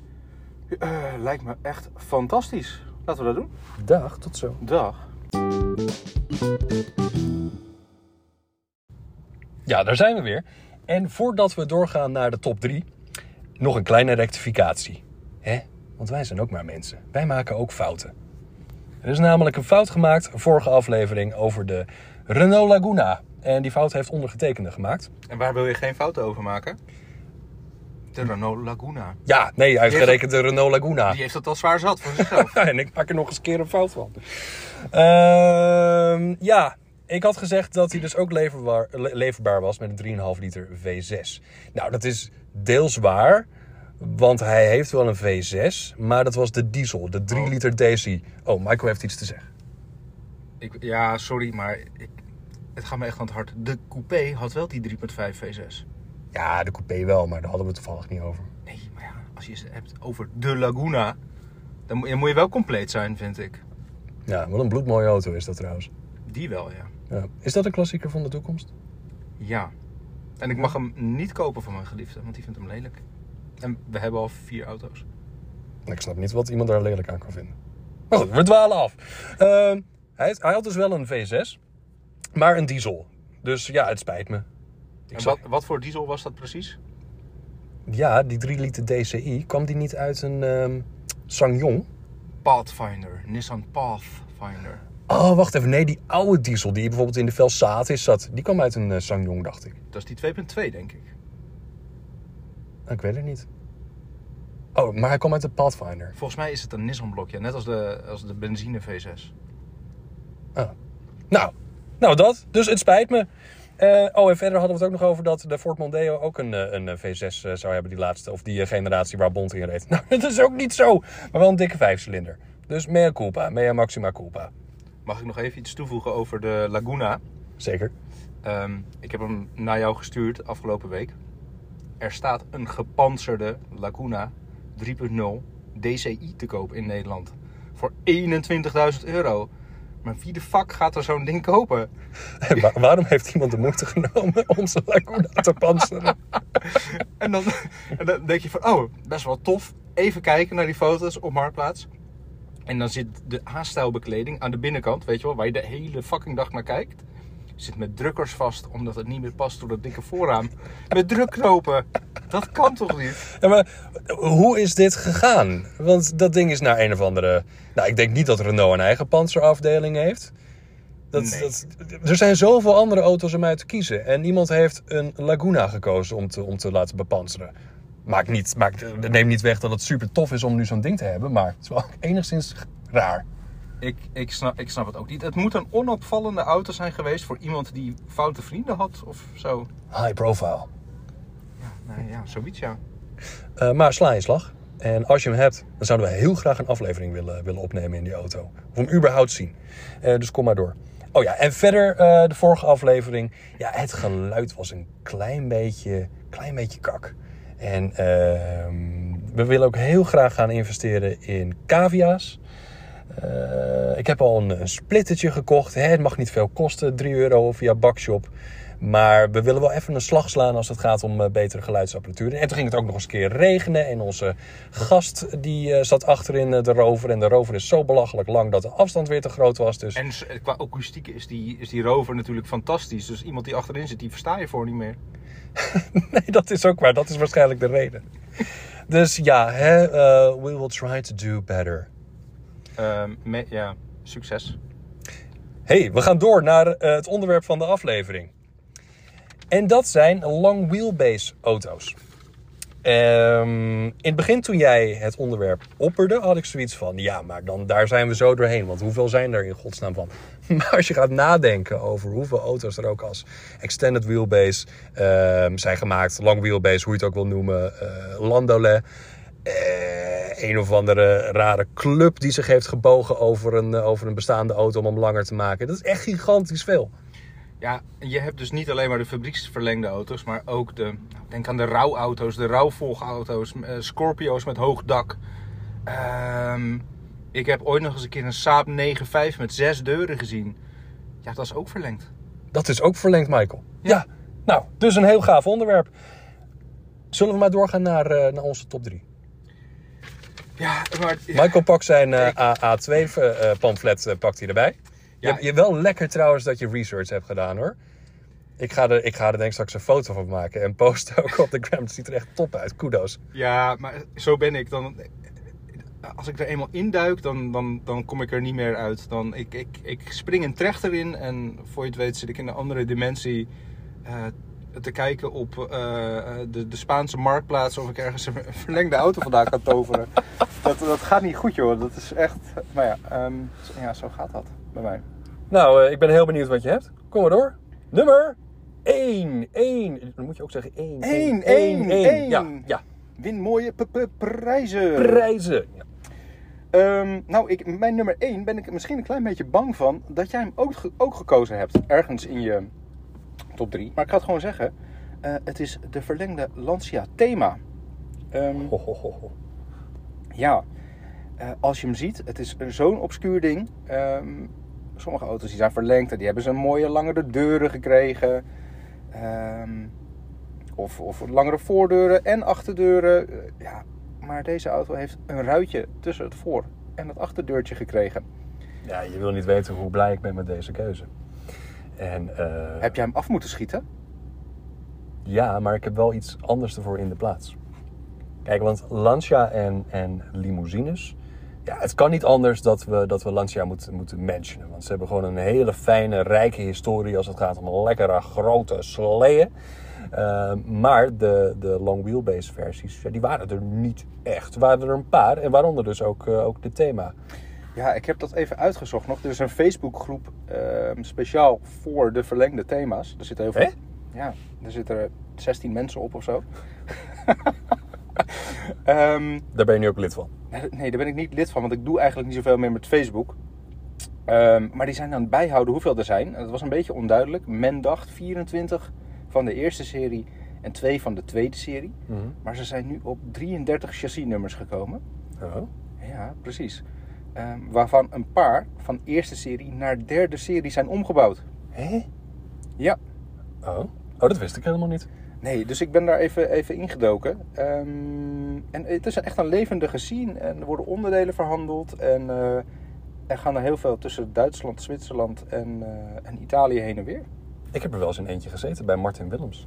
[SPEAKER 3] Eh, lijkt me echt fantastisch. Laten we dat doen.
[SPEAKER 2] Dag, tot zo.
[SPEAKER 3] Dag.
[SPEAKER 2] Ja, daar zijn we weer. En voordat we doorgaan naar de top 3, nog een kleine rectificatie. Hè? Want wij zijn ook maar mensen. Wij maken ook fouten. Er is namelijk een fout gemaakt vorige aflevering over de Renault Laguna. En die fout heeft ondergetekende gemaakt.
[SPEAKER 3] En waar wil je geen fouten over maken? De Renault Laguna.
[SPEAKER 2] Ja, nee, uitgerekend de Renault Laguna.
[SPEAKER 3] Die heeft dat al zwaar zat voor zichzelf.
[SPEAKER 2] Ja, en ik maak er nog eens een keer een fout van. Ehm, ja, ik had gezegd dat hij dus ook leverbaar, le- leverbaar was met een 3,5 liter V6. Nou, dat is deels waar, want hij heeft wel een V6, maar dat was de diesel, de 3 liter DC. Oh, Michael heeft iets te zeggen.
[SPEAKER 3] ik, ja, sorry, maar ik, het gaat me echt aan het hart. De coupé had wel die 3.5 V6.
[SPEAKER 2] Ja, de coupé wel, maar daar hadden we het toevallig niet over.
[SPEAKER 3] Nee, maar ja, als je het hebt over de Laguna, dan moet, dan moet je wel compleet zijn, vind ik.
[SPEAKER 2] Ja, wat een bloedmooie auto is dat trouwens.
[SPEAKER 3] Die wel, ja.
[SPEAKER 2] Ja. Is dat een klassieker van de toekomst?
[SPEAKER 3] Ja. En ik mag hem niet kopen van mijn geliefde, want die vindt hem lelijk. En we hebben al vier auto's.
[SPEAKER 2] Ik snap niet wat iemand daar lelijk aan kan vinden. Maar goed, we dwalen af. Ehm, hij, hij had dus wel een V6, maar een diesel. Dus ja, het spijt me.
[SPEAKER 3] En
[SPEAKER 2] zag-
[SPEAKER 3] wat, wat voor diesel was dat precies?
[SPEAKER 2] Ja, die 3 liter DCI, kwam die niet uit een ehm Sangyong?
[SPEAKER 3] Pathfinder. Nissan Pathfinder.
[SPEAKER 2] Oh, wacht even. Nee, die oude diesel die bijvoorbeeld in de Velsatis zat, die kwam uit een eh, Sangyong, dacht ik.
[SPEAKER 3] Dat is die 2.2, denk ik.
[SPEAKER 2] Nou, Ik weet het niet. Oh, maar hij kwam uit de Pathfinder.
[SPEAKER 3] Volgens mij is het een Nissan blokje, net als de, als de benzine V6.
[SPEAKER 2] Ah. Nou, nou dat. Dus het spijt me. Eh, oh, en verder hadden we het ook nog over dat de Ford Mondeo ook een, eh, een eh, V6 eh, zou hebben, die laatste, of die eh, generatie waar Bond in reed. Nou, dat is ook niet zo, maar wel een dikke vijfcilinder. Dus mea culpa, mea maxima culpa.
[SPEAKER 3] Mag ik nog even iets toevoegen over de Laguna?
[SPEAKER 2] Zeker.
[SPEAKER 3] Ehm, ik heb hem naar jou gestuurd afgelopen week. Er staat een gepantserde Laguna 3.0 DCI te koop in Nederland. Voor 21.000 euro. Maar wie de fuck gaat er zo'n ding kopen?
[SPEAKER 2] En wa- waarom heeft iemand de moeite genomen om zijn Laguna te panseren?
[SPEAKER 3] En dan, en dan denk je van, oh, best wel tof. Even kijken naar die foto's op Marktplaats. En dan zit de A-stijlbekleding aan de binnenkant, weet je wel, waar je de hele fucking dag naar kijkt. Zit met drukkers vast, omdat het niet meer past door dat dikke voorraam. Met drukknopen. Dat kan toch niet?
[SPEAKER 2] Ja, maar hoe is dit gegaan? Want dat ding is naar een of andere... Nou, ik denk niet dat Renault een eigen panzerafdeling heeft. Dat,
[SPEAKER 3] Nee.
[SPEAKER 2] dat, er zijn zoveel andere auto's om uit te kiezen. En iemand heeft een Laguna gekozen om te, om te laten bepanseren. Maakt niet, maakt, neem niet weg dat het super tof is om nu zo'n ding te hebben, maar het is wel enigszins raar.
[SPEAKER 3] Ik, ik, snap, ik snap het ook niet. Het moet een onopvallende auto zijn geweest voor iemand die foute vrienden had of zo.
[SPEAKER 2] High profile.
[SPEAKER 3] Nou ja, zoiets ja.
[SPEAKER 2] Eh, maar sla je slag. En als je hem hebt, dan zouden we heel graag een aflevering willen, willen opnemen in die auto. Of hem überhaupt zien. Eh, dus kom maar door. Oh ja, en verder eh, de vorige aflevering. Ja, het geluid was een klein beetje, klein beetje kak. En ehm, we willen ook heel graag gaan investeren in cavia's. Eh, ik heb al een, een splittertje gekocht. Hè, het mag niet veel kosten, 3 euro via Bakshop. Maar we willen wel even een slag slaan als het gaat om eh, betere geluidsapparatuur. En toen ging het ook nog eens een keer regenen. En onze gast die eh, zat achterin eh, de rover. En de rover is zo belachelijk lang dat de afstand weer te groot was. Dus
[SPEAKER 3] En s- eh, qua akoestiek is die, is die rover natuurlijk fantastisch. Dus iemand die achterin zit, die versta je voor niet meer.
[SPEAKER 2] nee, dat is ook waar. Dat is waarschijnlijk de reden. Dus ja, hè, eh, we will try to do better.
[SPEAKER 3] Ehm, me- ja, succes.
[SPEAKER 2] hey, we gaan door naar eh, het onderwerp van de aflevering. En dat zijn long wheelbase auto's. Ehm, in het begin toen jij het onderwerp opperde, had ik zoiets van... ja, maar dan, daar zijn we zo doorheen, want hoeveel zijn er in godsnaam van? Maar als je gaat nadenken over hoeveel auto's er ook als extended wheelbase ehm, zijn gemaakt... long wheelbase, hoe je het ook wil noemen, eh, landolet... eh, een of andere rare club die zich heeft gebogen over een, eh, over een bestaande auto om hem langer te maken. Dat is echt gigantisch veel.
[SPEAKER 3] Ja, je hebt dus niet alleen maar de fabrieksverlengde auto's, maar ook de. nou, Denk aan de rouwauto's, de rouwvolgauto's, eh, Scorpio's met hoog dak. Ehm, ik heb ooit nog eens een keer een Saab 9-5 met zes deuren gezien. Ja, dat is ook verlengd.
[SPEAKER 2] Dat is ook verlengd, Michael. Ja. Nou, dus een heel gaaf onderwerp. Zullen we maar doorgaan naar, eh, naar onze top 3?
[SPEAKER 3] Ja, maar.
[SPEAKER 2] Michael pakt zijn eh, AA2-pamflet eh, pakt hij erbij.
[SPEAKER 3] Ja.
[SPEAKER 2] Je, je wel lekker trouwens dat je research hebt gedaan hoor. Ik ga, er, ik ga er denk ik straks een foto van maken en posten ook op de gram. Het ziet er echt top uit. Kudos.
[SPEAKER 3] Ja, maar zo ben ik. Dan, als ik er eenmaal induik, dan, dan, dan kom ik er niet meer uit. Dan, ik, ik, ik spring een trechter in en voor je het weet zit ik in een andere dimensie eh, te kijken op eh, eh, de, de Spaanse marktplaats of ik ergens een verlengde auto vandaan kan toveren. Dat, dat gaat niet goed joh, dat is echt... Maar ja, ehm, ja zo gaat dat bij mij.
[SPEAKER 2] Nou, eh, ik ben heel benieuwd wat je hebt. Kom maar door. Nummer 1. 1. Dan moet je ook zeggen 1.
[SPEAKER 3] Eén, één, één.
[SPEAKER 2] Ja, ja.
[SPEAKER 3] Win mooie p- p- prijzen!
[SPEAKER 2] Prijzen. Ja.
[SPEAKER 3] Ehm, nou, ik, mijn nummer 1 ben ik misschien een klein beetje bang van dat jij hem ook, ge- ook gekozen hebt. Ergens in je top 3. Maar ik ga het gewoon zeggen. eh, het is de verlengde Lancia Thema. Ehm,
[SPEAKER 2] Ho, ho, ho, ho.
[SPEAKER 3] ja, eh, als je hem ziet, het is een- zo'n obscuur ding. Ehm, sommige auto's die zijn verlengd en die hebben ze een mooie langere deuren gekregen. Ehm, of, of langere voordeuren en achterdeuren. Eh, ja, maar deze auto heeft een ruitje tussen het voor- en het achterdeurtje gekregen.
[SPEAKER 2] Ja, je wil niet weten hoe blij ik ben met deze keuze. En eh,
[SPEAKER 3] Heb jij hem af moeten schieten?
[SPEAKER 2] ja, maar ik heb wel iets anders ervoor in de plaats. Kijk, want Lancia en, en limousines. Ja, het kan niet anders dat we, dat we Lancia moeten, moeten mentionen. Want ze hebben gewoon een hele fijne, rijke historie als het gaat om lekkere grote sleeën. Eh, maar de, de long wheelbase versies, ja, die waren er niet echt. Er waren er een paar en waaronder dus ook, eh, ook de thema.
[SPEAKER 3] Ja, ik heb dat even uitgezocht nog. Er is een Facebookgroep ehm, speciaal voor de verlengde thema's. Er zitten heel veel.
[SPEAKER 2] Hè?
[SPEAKER 3] Ja, er zitten 16 mensen op of zo. Ehm,
[SPEAKER 2] Daar ben je nu ook lid van.
[SPEAKER 3] nee, daar ben ik niet lid van, want ik doe eigenlijk niet zoveel meer met Facebook. Ehm, maar die zijn aan het bijhouden hoeveel er zijn. En dat was een beetje onduidelijk. Men dacht 24 van de eerste serie en 2 van de tweede serie. Maar ze zijn nu op 33 chassisnummers gekomen.
[SPEAKER 2] Oh.
[SPEAKER 3] Ja, precies. Ehm, waarvan een paar van eerste serie naar derde serie zijn omgebouwd.
[SPEAKER 2] Hé?
[SPEAKER 3] Ja.
[SPEAKER 2] Oh. oh, dat wist ik helemaal niet.
[SPEAKER 3] Nee, dus ik ben daar even, even ingedoken. Ehm, en het is echt een levendige scene. En er worden onderdelen verhandeld. En eh, er gaan er heel veel tussen Duitsland, Zwitserland en, eh, en Italië heen en weer.
[SPEAKER 2] Ik heb er wel eens in eentje gezeten bij Martin Willems.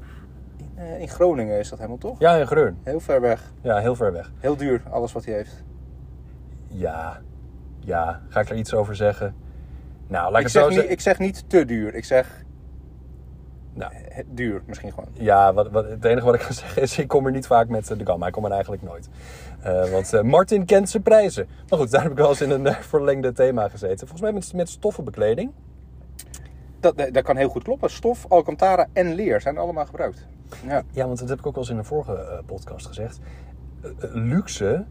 [SPEAKER 3] In, eh, in Groningen is dat helemaal toch?
[SPEAKER 2] Ja, in Greun.
[SPEAKER 3] Heel ver weg.
[SPEAKER 2] Ja, heel ver weg.
[SPEAKER 3] Heel duur, alles wat hij heeft.
[SPEAKER 2] Ja. Ja. Ga ik er iets over zeggen? Nou, laat ik,
[SPEAKER 3] Ik
[SPEAKER 2] het zo
[SPEAKER 3] zeg, niet,
[SPEAKER 2] zeggen.
[SPEAKER 3] ik zeg niet te duur. Ik zeg
[SPEAKER 2] Nou.
[SPEAKER 3] Eh, Duur misschien gewoon.
[SPEAKER 2] Ja, wat, wat, het enige wat ik kan zeggen is, ik kom er niet vaak met eh, de gamma. Ik kom er eigenlijk nooit. Eh, want eh, Martin kent zijn prijzen. Maar goed, daar heb ik wel eens in een eh, verlengde thema gezeten. Volgens mij met, met stoffenbekleding.
[SPEAKER 3] Dat, dat, dat kan heel goed kloppen. Stof, Alcantara en leer zijn allemaal gebruikt. Ja.
[SPEAKER 2] Ja, want dat heb ik ook wel eens in een vorige eh, podcast gezegd. Eh, eh, luxe,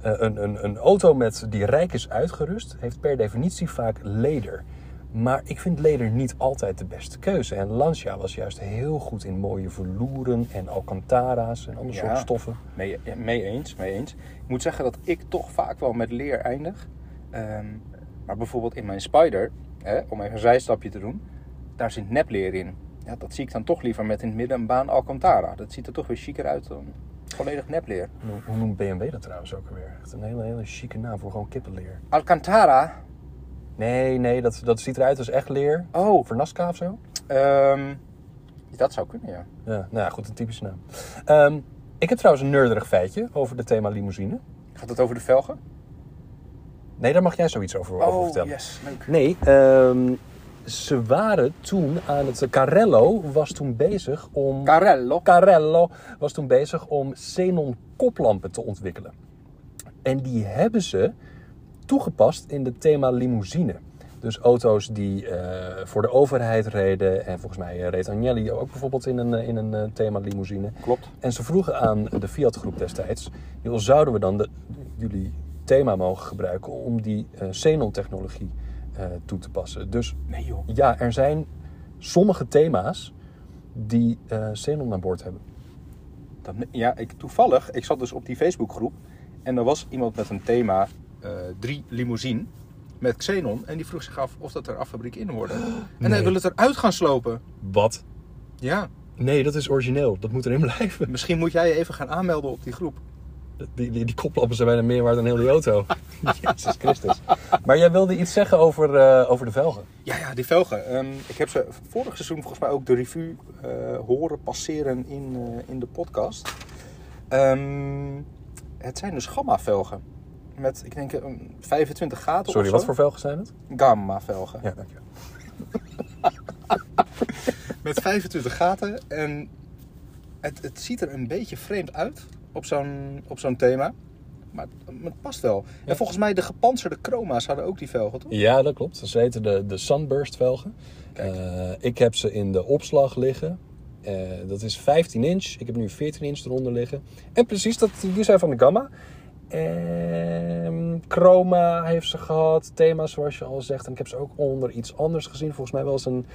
[SPEAKER 2] eh, een, een, een auto met, die rijk is uitgerust, heeft per definitie vaak leder. Maar ik vind leder niet altijd de beste keuze. En Lancia was juist heel goed in mooie verloeren en Alcantara's en andere
[SPEAKER 3] Ja.
[SPEAKER 2] soort stoffen.
[SPEAKER 3] Mee, mee eens, mee eens. Ik moet zeggen dat ik toch vaak wel met leer eindig. Ehm, maar bijvoorbeeld in mijn Spider, hè, om even een zijstapje te doen, daar zit nepleer in. Ja, dat zie ik dan toch liever met in het midden een baan Alcantara. Dat ziet er toch weer chiquer uit dan volledig nepleer.
[SPEAKER 2] Hoe- Hoe noemt BMW dat trouwens ook alweer? Echt een hele, hele chique naam voor gewoon kippenleer.
[SPEAKER 3] Alcantara,
[SPEAKER 2] Nee, nee, dat, dat ziet eruit als echt leer.
[SPEAKER 3] oh,
[SPEAKER 2] Voor Nazca of zo?
[SPEAKER 3] ehm, dat zou kunnen, ja.
[SPEAKER 2] Ja, nou ja, goed, een typische naam. Ehm, ik heb trouwens een nerderig feitje over het thema limousine.
[SPEAKER 3] Gaat het over de velgen?
[SPEAKER 2] Nee, daar mag jij zoiets over, over vertellen.
[SPEAKER 3] Oh, yes, leuk.
[SPEAKER 2] Nee, ehm, ze waren toen aan het... Carello was toen bezig om...
[SPEAKER 3] Carello.
[SPEAKER 2] Carello was toen bezig om xenon koplampen te ontwikkelen. En die hebben ze toegepast in het thema limousine. Dus auto's die eh, voor de overheid reden. En volgens mij eh, reed Agnelli ook bijvoorbeeld in een, eh, in een eh, thema limousine.
[SPEAKER 3] Klopt.
[SPEAKER 2] En ze vroegen aan de Fiat groep destijds... "Joh, zouden we dan de, jullie thema mogen gebruiken om die eh, xenon-technologie eh, toe te passen? Dus
[SPEAKER 3] Nee joh.
[SPEAKER 2] ja, er zijn sommige thema's die eh xenon aan boord hebben.
[SPEAKER 3] Dat, ja, ik, toevallig, ik zat dus op die Facebookgroep en er was iemand met een thema eh drie limousine met Xenon en die vroeg zich af of dat er affabriek in hoorde. En hij wil het eruit gaan slopen.
[SPEAKER 2] Wat?
[SPEAKER 3] Ja,
[SPEAKER 2] Nee, dat is origineel. Dat moet erin blijven.
[SPEAKER 3] misschien moet jij je even gaan aanmelden op die groep.
[SPEAKER 2] Die, die, die koplappen zijn bijna meer waard dan heel die auto. Jezus Christus. Maar jij wilde iets zeggen over, eh, over de velgen.
[SPEAKER 3] Ja, ja, die velgen. Ehm, ik heb ze vorig seizoen volgens mij ook de revue eh, horen passeren in, eh, in de podcast. Ehm, het zijn dus gamma-velgen. Met, ik denk, een 25 gaten
[SPEAKER 2] Sorry,
[SPEAKER 3] of
[SPEAKER 2] wat
[SPEAKER 3] zo.
[SPEAKER 2] voor velgen zijn het?
[SPEAKER 3] Gamma-velgen.
[SPEAKER 2] Ja, dankjewel.
[SPEAKER 3] Met 25 gaten. En het, het ziet er een beetje vreemd uit op zo'n, op zo'n thema. Maar het, het past wel. En volgens mij de gepantserde chroma's hadden ook die velgen, toch?
[SPEAKER 2] Ja, dat klopt. Ze heten de, de Sunburst velgen.
[SPEAKER 3] Kijk.
[SPEAKER 2] Eh, ik heb ze in de opslag liggen. Eh, dat is 15 inch. Ik heb nu 14 inch eronder liggen. En precies, dat, die zijn van de Gamma. Ehm, Chroma heeft ze gehad. Thema, zoals je al zegt. En ik heb ze ook onder iets anders gezien. Volgens mij wel eens een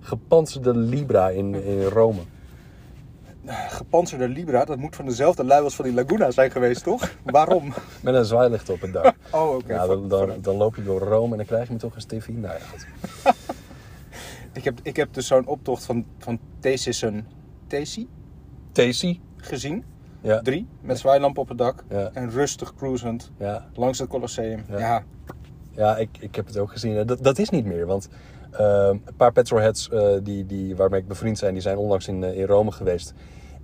[SPEAKER 2] gepantserde Libra in, in Rome.
[SPEAKER 3] Gepantserde Libra, dat moet van dezelfde lui als van die Laguna zijn geweest, toch? Waarom?
[SPEAKER 2] Met een zwaailicht op het dak.
[SPEAKER 3] Oh, oké.
[SPEAKER 2] nou, dan, dan, dan loop je door Rome en dan krijg je me toch een stiffie. Nou ja, goed.
[SPEAKER 3] Ik, heb, ik heb dus zo'n optocht van, van Thesissen Thesi
[SPEAKER 2] Tesi.
[SPEAKER 3] gezien.
[SPEAKER 2] Ja.
[SPEAKER 3] Drie, met zwaailamp op het dak.
[SPEAKER 2] Ja.
[SPEAKER 3] En rustig cruisend
[SPEAKER 2] ja.
[SPEAKER 3] langs het Colosseum.
[SPEAKER 2] Ja.
[SPEAKER 3] Ja,
[SPEAKER 2] Ja, ik, ik heb het ook gezien. Eh, Dat, dat is niet meer, want ehm, een paar petrolheads eh, die, die, waarmee ik bevriend zijn, die zijn onlangs in, eh, in Rome geweest.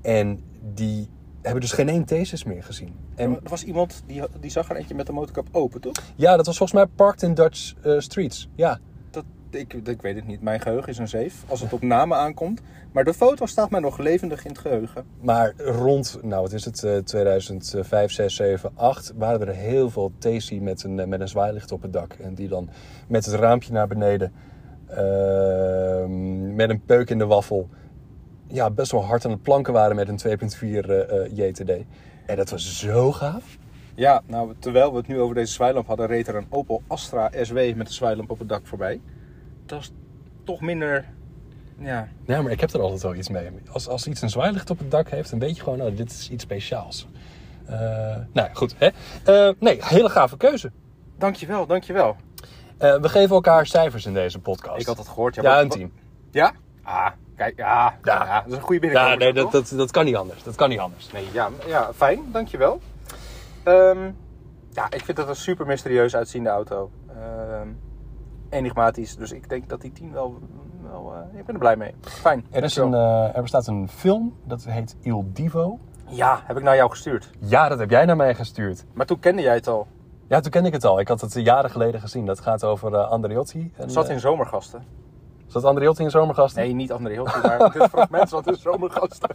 [SPEAKER 2] En die hebben dus geen één thesis meer gezien. En
[SPEAKER 3] er was iemand, die, die zag er eentje met de motorkap open, toch?
[SPEAKER 2] ja, dat was volgens mij Parked in Dutch eh, Streets. Ja,
[SPEAKER 3] Dat, ik, ik weet het niet. Mijn geheugen is een zeef. Als het op namen aankomt. Maar de foto staat mij nog levendig in het geheugen.
[SPEAKER 2] maar rond, nou wat is het, eh, 2005, 6, 7, 8, waren er heel veel thesis met een, eh, met een zwaailicht op het dak. En die dan met het raampje naar beneden, ehm, met een peuk in de waffel, ja, best wel hard aan het planken waren met een 2.4 eh, eh, JTD. En dat was zo gaaf.
[SPEAKER 3] Ja, nou, terwijl we het nu over deze zwaailamp hadden, reed er een Opel Astra SW met een zwaailamp op het dak voorbij. Dat is toch minder. Ja.
[SPEAKER 2] Ja, maar ik heb er altijd wel iets mee. Als, als iets een zwaailicht op het dak heeft, dan weet je gewoon, nou, dit is iets speciaals. Eh, nou ja, goed. Hè? Eh, nee, hele gave keuze.
[SPEAKER 3] Dankjewel, dankjewel.
[SPEAKER 2] Eh, we geven elkaar cijfers in deze podcast.
[SPEAKER 3] Ik had het gehoord.
[SPEAKER 2] Ja,
[SPEAKER 3] wat-
[SPEAKER 2] een
[SPEAKER 3] wat-
[SPEAKER 2] team.
[SPEAKER 3] Ja? Ah, kijk, ja.
[SPEAKER 2] Ja.
[SPEAKER 3] Ja, dat is een goede
[SPEAKER 2] Ja,
[SPEAKER 3] binnenkomer.
[SPEAKER 2] nee,
[SPEAKER 3] toch?
[SPEAKER 2] dat, dat, dat kan niet anders. Dat kan niet anders.
[SPEAKER 3] Nee, ja, ja fijn, dankjewel. Ehm ja, ik vind dat een super mysterieus uitziende auto. Ehm, enigmatisch, dus ik denk dat die 10 wel... wel eh, ik ben er blij mee. Fijn,
[SPEAKER 2] Er, is
[SPEAKER 3] dankjewel.
[SPEAKER 2] een, eh, er bestaat een film, dat heet Il Divo.
[SPEAKER 3] Ja, heb ik naar jou gestuurd.
[SPEAKER 2] Ja, dat heb jij naar mij gestuurd.
[SPEAKER 3] Maar toen kende jij het al.
[SPEAKER 2] Ja, toen kende ik het al. Ik had het jaren geleden gezien. Dat gaat over eh, Andreotti. En,
[SPEAKER 3] Het zat
[SPEAKER 2] eh,
[SPEAKER 3] in zomergasten.
[SPEAKER 2] Is dat André Hilting in Zomergasten?
[SPEAKER 3] Nee, niet André Hilton, maar dit fragment zat in Zomergasten.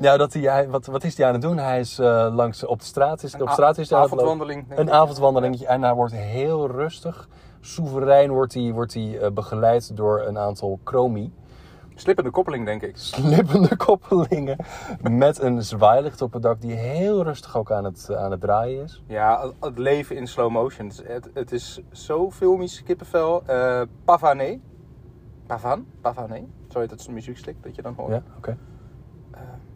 [SPEAKER 2] Ja, dat hij, hij- wat, wat is hij aan het doen? Hij is eh, langs op de straat. Is, op
[SPEAKER 3] a-
[SPEAKER 2] straat is hij aan het lopen.
[SPEAKER 3] avondwandeling, denk
[SPEAKER 2] Een
[SPEAKER 3] ik.
[SPEAKER 2] avondwandeling. En hij wordt heel rustig. Soeverein wordt hij, wordt hij eh, begeleid door een aantal chromie.
[SPEAKER 3] Slippende koppeling, denk ik.
[SPEAKER 2] Slippende koppelingen. Met een zwaailicht op het dak die heel rustig ook aan het, aan het draaien is.
[SPEAKER 3] Ja, het leven in slow motion. Het, het, het is zo filmisch, kippenvel. Eh Pavané. Pavan? Pavané. Zo heet het muziekstuk dat je dan hoort.
[SPEAKER 2] Ja, oké.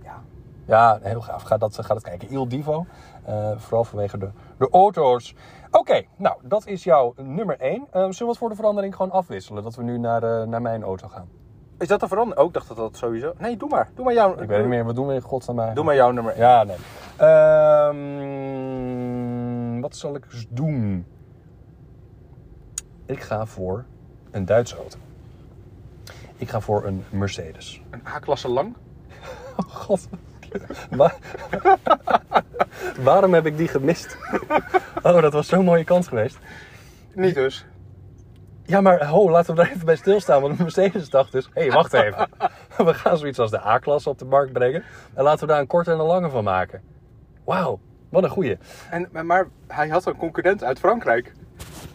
[SPEAKER 3] ja.
[SPEAKER 2] Ja, heel gaaf. Ga dat, ga dat kijken. Il Divo. Eh, vooral vanwege de, de auto's. Oké, nou, dat is jouw nummer 1. zullen we het voor de verandering gewoon afwisselen? Dat we nu naar, eh, naar mijn auto gaan.
[SPEAKER 3] Is dat een verandering? Ook dacht dat dat sowieso... Nee, doe maar. Doe maar jouw...
[SPEAKER 2] Ik weet niet meer, wat doen we in godsnaam eigenlijk?
[SPEAKER 3] Doe maar jouw nummer. één.
[SPEAKER 2] Ja, nee. Ehm, wat zal ik eens doen? Ik ga voor een Duitse auto. Ik ga voor een Mercedes.
[SPEAKER 3] Een A-klasse lang.
[SPEAKER 2] Oh god. Waar- Waarom heb ik die gemist? Oh, dat was zo'n mooie kans geweest.
[SPEAKER 3] Niet dus.
[SPEAKER 2] Ja, maar ho, laten we daar even bij stilstaan. Want Mercedes dacht dus, hé, hey, wacht even. We gaan zoiets als de A-klasse op de markt brengen. En laten we daar een korte en een lange van maken. Wauw, wat een goeie.
[SPEAKER 3] En, maar hij had een concurrent uit Frankrijk.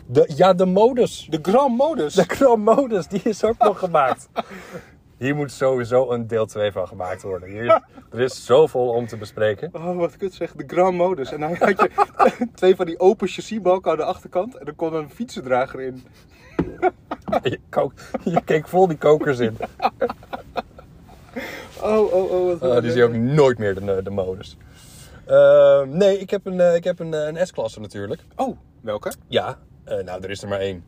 [SPEAKER 2] De, ja, de modus.
[SPEAKER 3] De Grand Modus.
[SPEAKER 2] De Chromodus, die is ook nog gemaakt. Hier moet sowieso een deel 2 van gemaakt worden. Hier, er is zoveel om te bespreken.
[SPEAKER 3] Oh, wat kut zeg. De Grand Modus. En dan had je twee van die open chassisbalken aan de achterkant. En er kon een fietsendrager in.
[SPEAKER 2] Je, kook- je keek vol die kokers in.
[SPEAKER 3] Oh, oh, oh. Wat
[SPEAKER 2] Oh, die zie je ook nooit meer de, de modus. Ehm, nee, ik heb een, eh, ik heb een, eh, een S-klasse natuurlijk.
[SPEAKER 3] Oh, welke?
[SPEAKER 2] Ja, eh, nou, er is er maar één.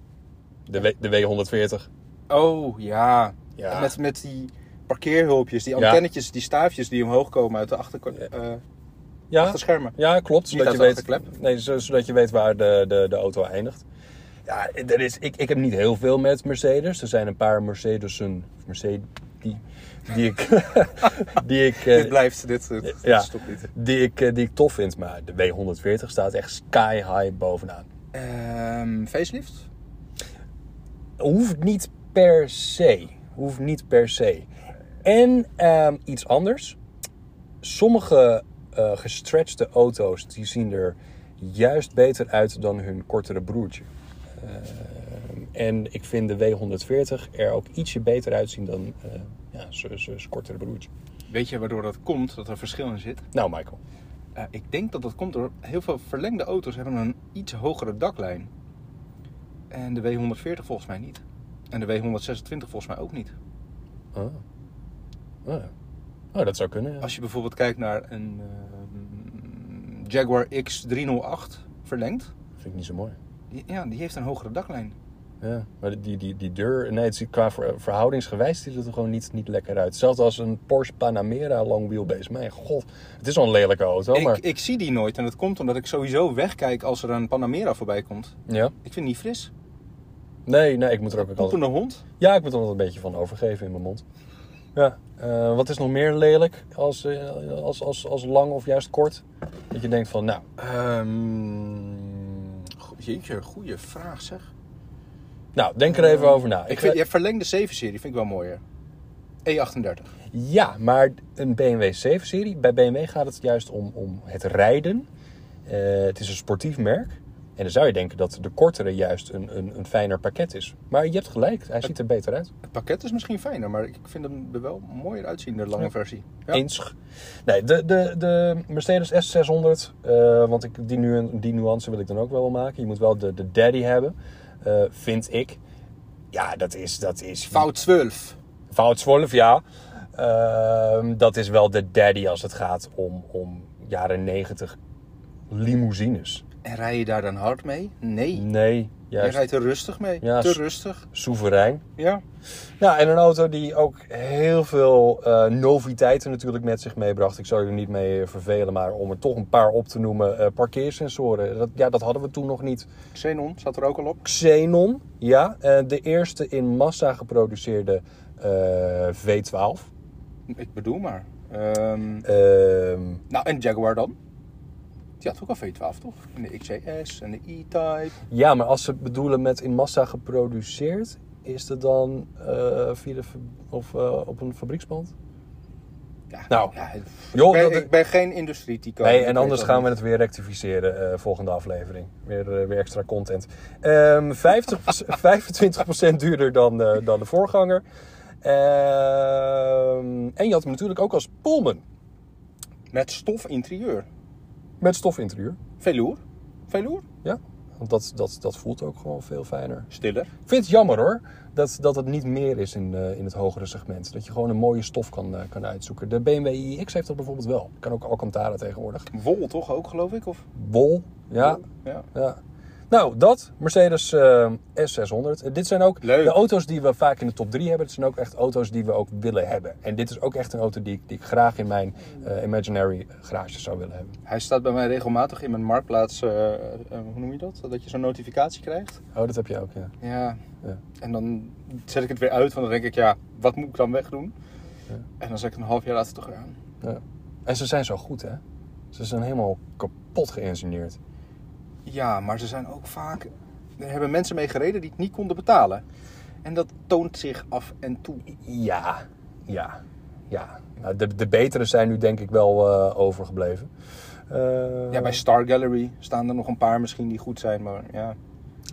[SPEAKER 2] De, w, de W140.
[SPEAKER 3] Oh, ja.
[SPEAKER 2] Ja.
[SPEAKER 3] En Met, met die parkeerhulpjes, die
[SPEAKER 2] Ja.
[SPEAKER 3] antennetjes, die staafjes die omhoog komen uit de achterkant. eh,
[SPEAKER 2] Ja,
[SPEAKER 3] Achter schermen.
[SPEAKER 2] Ja, klopt.
[SPEAKER 3] Niet
[SPEAKER 2] Zodat je,
[SPEAKER 3] uit de
[SPEAKER 2] weet, nee, zo- zodat je weet waar de, de, de auto eindigt. Ja, er is, ik, ik heb niet heel veel met Mercedes. Er zijn een paar Mercedes'en, of Mercedes, die, die ik... die ik eh,
[SPEAKER 3] dit blijft, dit, dit, dit
[SPEAKER 2] ja,
[SPEAKER 3] stopt niet.
[SPEAKER 2] die ik, eh, die ik tof vind. Maar de W140 staat echt sky high bovenaan.
[SPEAKER 3] Ehm facelift?
[SPEAKER 2] Hoeft niet per se. Hoeft niet per se. En ehm, iets anders. Sommige eh gestretchte auto's die zien er juist beter uit dan hun kortere broertje. Ehm, en ik vind de W140 er ook ietsje beter uitzien dan eh ja, zijn kortere broertje.
[SPEAKER 3] Weet je waardoor dat komt, dat er verschil in zit?
[SPEAKER 2] Nou, Michael.
[SPEAKER 3] Eh, ik denk dat dat komt door heel veel verlengde auto's hebben een iets hogere daklijn. En de W140 volgens mij niet. En de W126 volgens mij ook niet.
[SPEAKER 2] Ah. Ah. Oh, dat zou kunnen. ja.
[SPEAKER 3] Als je bijvoorbeeld kijkt naar een ehm, Jaguar X308 verlengd.
[SPEAKER 2] vind ik niet zo mooi.
[SPEAKER 3] die- Ja, die heeft een hogere daklijn.
[SPEAKER 2] Ja, maar die, die, die deur, nee, het ziet qua ver- verhoudingsgewijs ziet het er gewoon niet, niet lekker uit. Zelfs als een Porsche Panamera long wheelbase. Mijn god, het is al een lelijke auto, maar...
[SPEAKER 3] Ik, ik zie die nooit en dat komt omdat ik sowieso wegkijk als er een Panamera voorbij komt.
[SPEAKER 2] Ja?
[SPEAKER 3] Ik vind het niet fris.
[SPEAKER 2] Nee, nee, ik moet er ook altijd...
[SPEAKER 3] Poepende hond.
[SPEAKER 2] Ja, ik moet er altijd een beetje van overgeven in mijn mond. Ja. eh, wat is nog meer lelijk als, eh, als, als, als lang of juist kort? Dat je denkt van, nou,
[SPEAKER 3] Ehm go- jeetje, goede vraag zeg.
[SPEAKER 2] nou denk er even over na.
[SPEAKER 3] Ehm, Ik
[SPEAKER 2] ga-
[SPEAKER 3] vind, je verlengde 7-serie vind ik wel mooier. E38.
[SPEAKER 2] Ja, maar een BMW 7-serie. Bij BMW gaat het juist om, om het rijden. Eh, het is een sportief merk. En dan zou je denken dat de kortere juist een, een, een fijner pakket is. Maar je hebt gelijk, hij ziet er beter uit.
[SPEAKER 3] Het pakket is misschien fijner, maar ik vind hem er wel mooier uitzien, de lange versie. Ja.
[SPEAKER 2] Eens. Nee, de, de, de Mercedes S600. eh, want ik, die, nu, die nuance wil ik dan ook wel maken. Je moet wel de, de daddy hebben, eh, vind ik. Ja, dat is. Dat is
[SPEAKER 3] Fout 12.
[SPEAKER 2] Wout Zwolf, ja. Ehm, dat is wel de daddy als het gaat om, om jaren 90 limousines.
[SPEAKER 3] En rij je daar dan hard mee? Nee.
[SPEAKER 2] Nee,
[SPEAKER 3] Je
[SPEAKER 2] juist
[SPEAKER 3] rijdt er rustig mee.
[SPEAKER 2] Ja,
[SPEAKER 3] Te
[SPEAKER 2] s-
[SPEAKER 3] rustig.
[SPEAKER 2] soeverein.
[SPEAKER 3] Ja.
[SPEAKER 2] Ja, en een auto die ook heel veel eh, noviteiten natuurlijk met zich meebracht. Ik zou je er niet mee eh, vervelen, maar om er toch een paar op te noemen. eh, parkeersensoren, dat, ja, dat hadden we toen nog niet.
[SPEAKER 3] Xenon zat er ook al op.
[SPEAKER 2] Xenon, ja. eh, de eerste in massa geproduceerde eh, V12.
[SPEAKER 3] Ik bedoel maar. Ehm,
[SPEAKER 2] Ehm,
[SPEAKER 3] nou, en Jaguar dan? Die had ook al V12, toch? En de XJS en de E-Type.
[SPEAKER 2] Ja, maar als ze het bedoelen met in massa geproduceerd, is het dan eh, via de, fa- of, eh, op een fabriekspand?
[SPEAKER 3] Ja,
[SPEAKER 2] Nou,
[SPEAKER 3] ja, het-
[SPEAKER 2] joh,
[SPEAKER 3] ik, ben,
[SPEAKER 2] dat-
[SPEAKER 3] ik ben geen industrietico.
[SPEAKER 2] Nee,
[SPEAKER 3] Ik
[SPEAKER 2] en
[SPEAKER 3] weet
[SPEAKER 2] anders
[SPEAKER 3] dat
[SPEAKER 2] gaan we
[SPEAKER 3] niet.
[SPEAKER 2] het weer rectificeren eh, volgende aflevering. Weer, eh, weer extra content. Ehm 50, 25% duurder dan, eh, dan de voorganger. Ehm, en je had hem natuurlijk ook als Pullman.
[SPEAKER 3] Met stof interieur.
[SPEAKER 2] Met stofinterieur.
[SPEAKER 3] Velour. Velour.
[SPEAKER 2] Ja, want dat, dat, dat voelt ook gewoon veel fijner.
[SPEAKER 3] Stiller.
[SPEAKER 2] Ik vind het jammer hoor, dat, dat het niet meer is in, eh, in het hogere segment. Dat je gewoon een mooie stof kan, eh, kan uitzoeken. De BMW iX heeft dat bijvoorbeeld wel. Kan ook Alcantara tegenwoordig.
[SPEAKER 3] Wol toch ook, geloof ik? Of?
[SPEAKER 2] Wol, ja.
[SPEAKER 3] Ja.
[SPEAKER 2] Ja. Nou, dat, Mercedes eh, S600. Eh, dit zijn ook
[SPEAKER 3] Leuk.
[SPEAKER 2] de auto's die we vaak in de top 3 hebben. Het zijn ook echt auto's die we ook willen hebben. En dit is ook echt een auto die, ik- die ik graag in mijn eh, imaginary garage zou willen hebben.
[SPEAKER 3] Hij staat bij mij regelmatig in mijn marktplaats. eh, eh, hoe noem je dat? Dat je zo'n notificatie krijgt.
[SPEAKER 2] Oh, dat heb je ook, ja.
[SPEAKER 3] Ja.
[SPEAKER 2] Ja.
[SPEAKER 3] En dan zet ik het weer uit, want dan denk ik, ja, wat moet ik dan wegdoen? En dan zet ik een half jaar later toch weer aan.
[SPEAKER 2] ja. En ze zijn zo goed, hè? Ze zijn helemaal kapot geïngineerd.
[SPEAKER 3] Ja, maar ze zijn ook vaak. Er hebben mensen mee gereden die het niet konden betalen. En dat toont zich af en toe.
[SPEAKER 2] Ja, ja, ja. Nou, de, de betere zijn nu denk ik wel eh, overgebleven. Eh,
[SPEAKER 3] Ja, bij Star Gallery staan er nog een paar misschien die goed zijn, maar ja.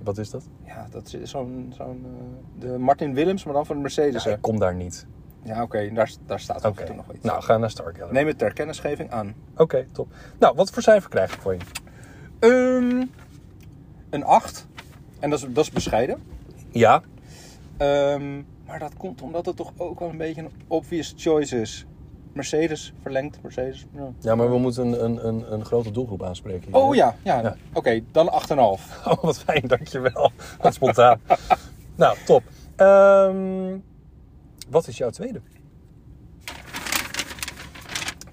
[SPEAKER 2] Wat is dat?
[SPEAKER 3] Ja, dat is zo'n. zo'n eh, de Martin Willems, maar dan van de Mercedes.
[SPEAKER 2] Ja,
[SPEAKER 3] hè?
[SPEAKER 2] ik kom daar niet.
[SPEAKER 3] Ja, oké, daar, daar staat
[SPEAKER 2] Oké,
[SPEAKER 3] af en toe nog iets.
[SPEAKER 2] nou, ga naar Star Gallery.
[SPEAKER 3] Neem het ter kennisgeving aan.
[SPEAKER 2] Oké, top. Nou, wat voor cijfer krijg ik voor je?
[SPEAKER 3] Ehm, een 8. En dat is, dat is bescheiden.
[SPEAKER 2] Ja.
[SPEAKER 3] Ehm, maar dat komt omdat het toch ook wel een beetje een obvious choice is. Mercedes verlengt, Mercedes. ja.
[SPEAKER 2] Ja, maar we moeten een, een, een, een grote doelgroep aanspreken. hier.
[SPEAKER 3] Oh ja, ja.
[SPEAKER 2] Ja.
[SPEAKER 3] oké, dan 8,5.
[SPEAKER 2] Oh, wat fijn, dankjewel. Wat spontaan. nou, top. Ehm, wat is jouw tweede?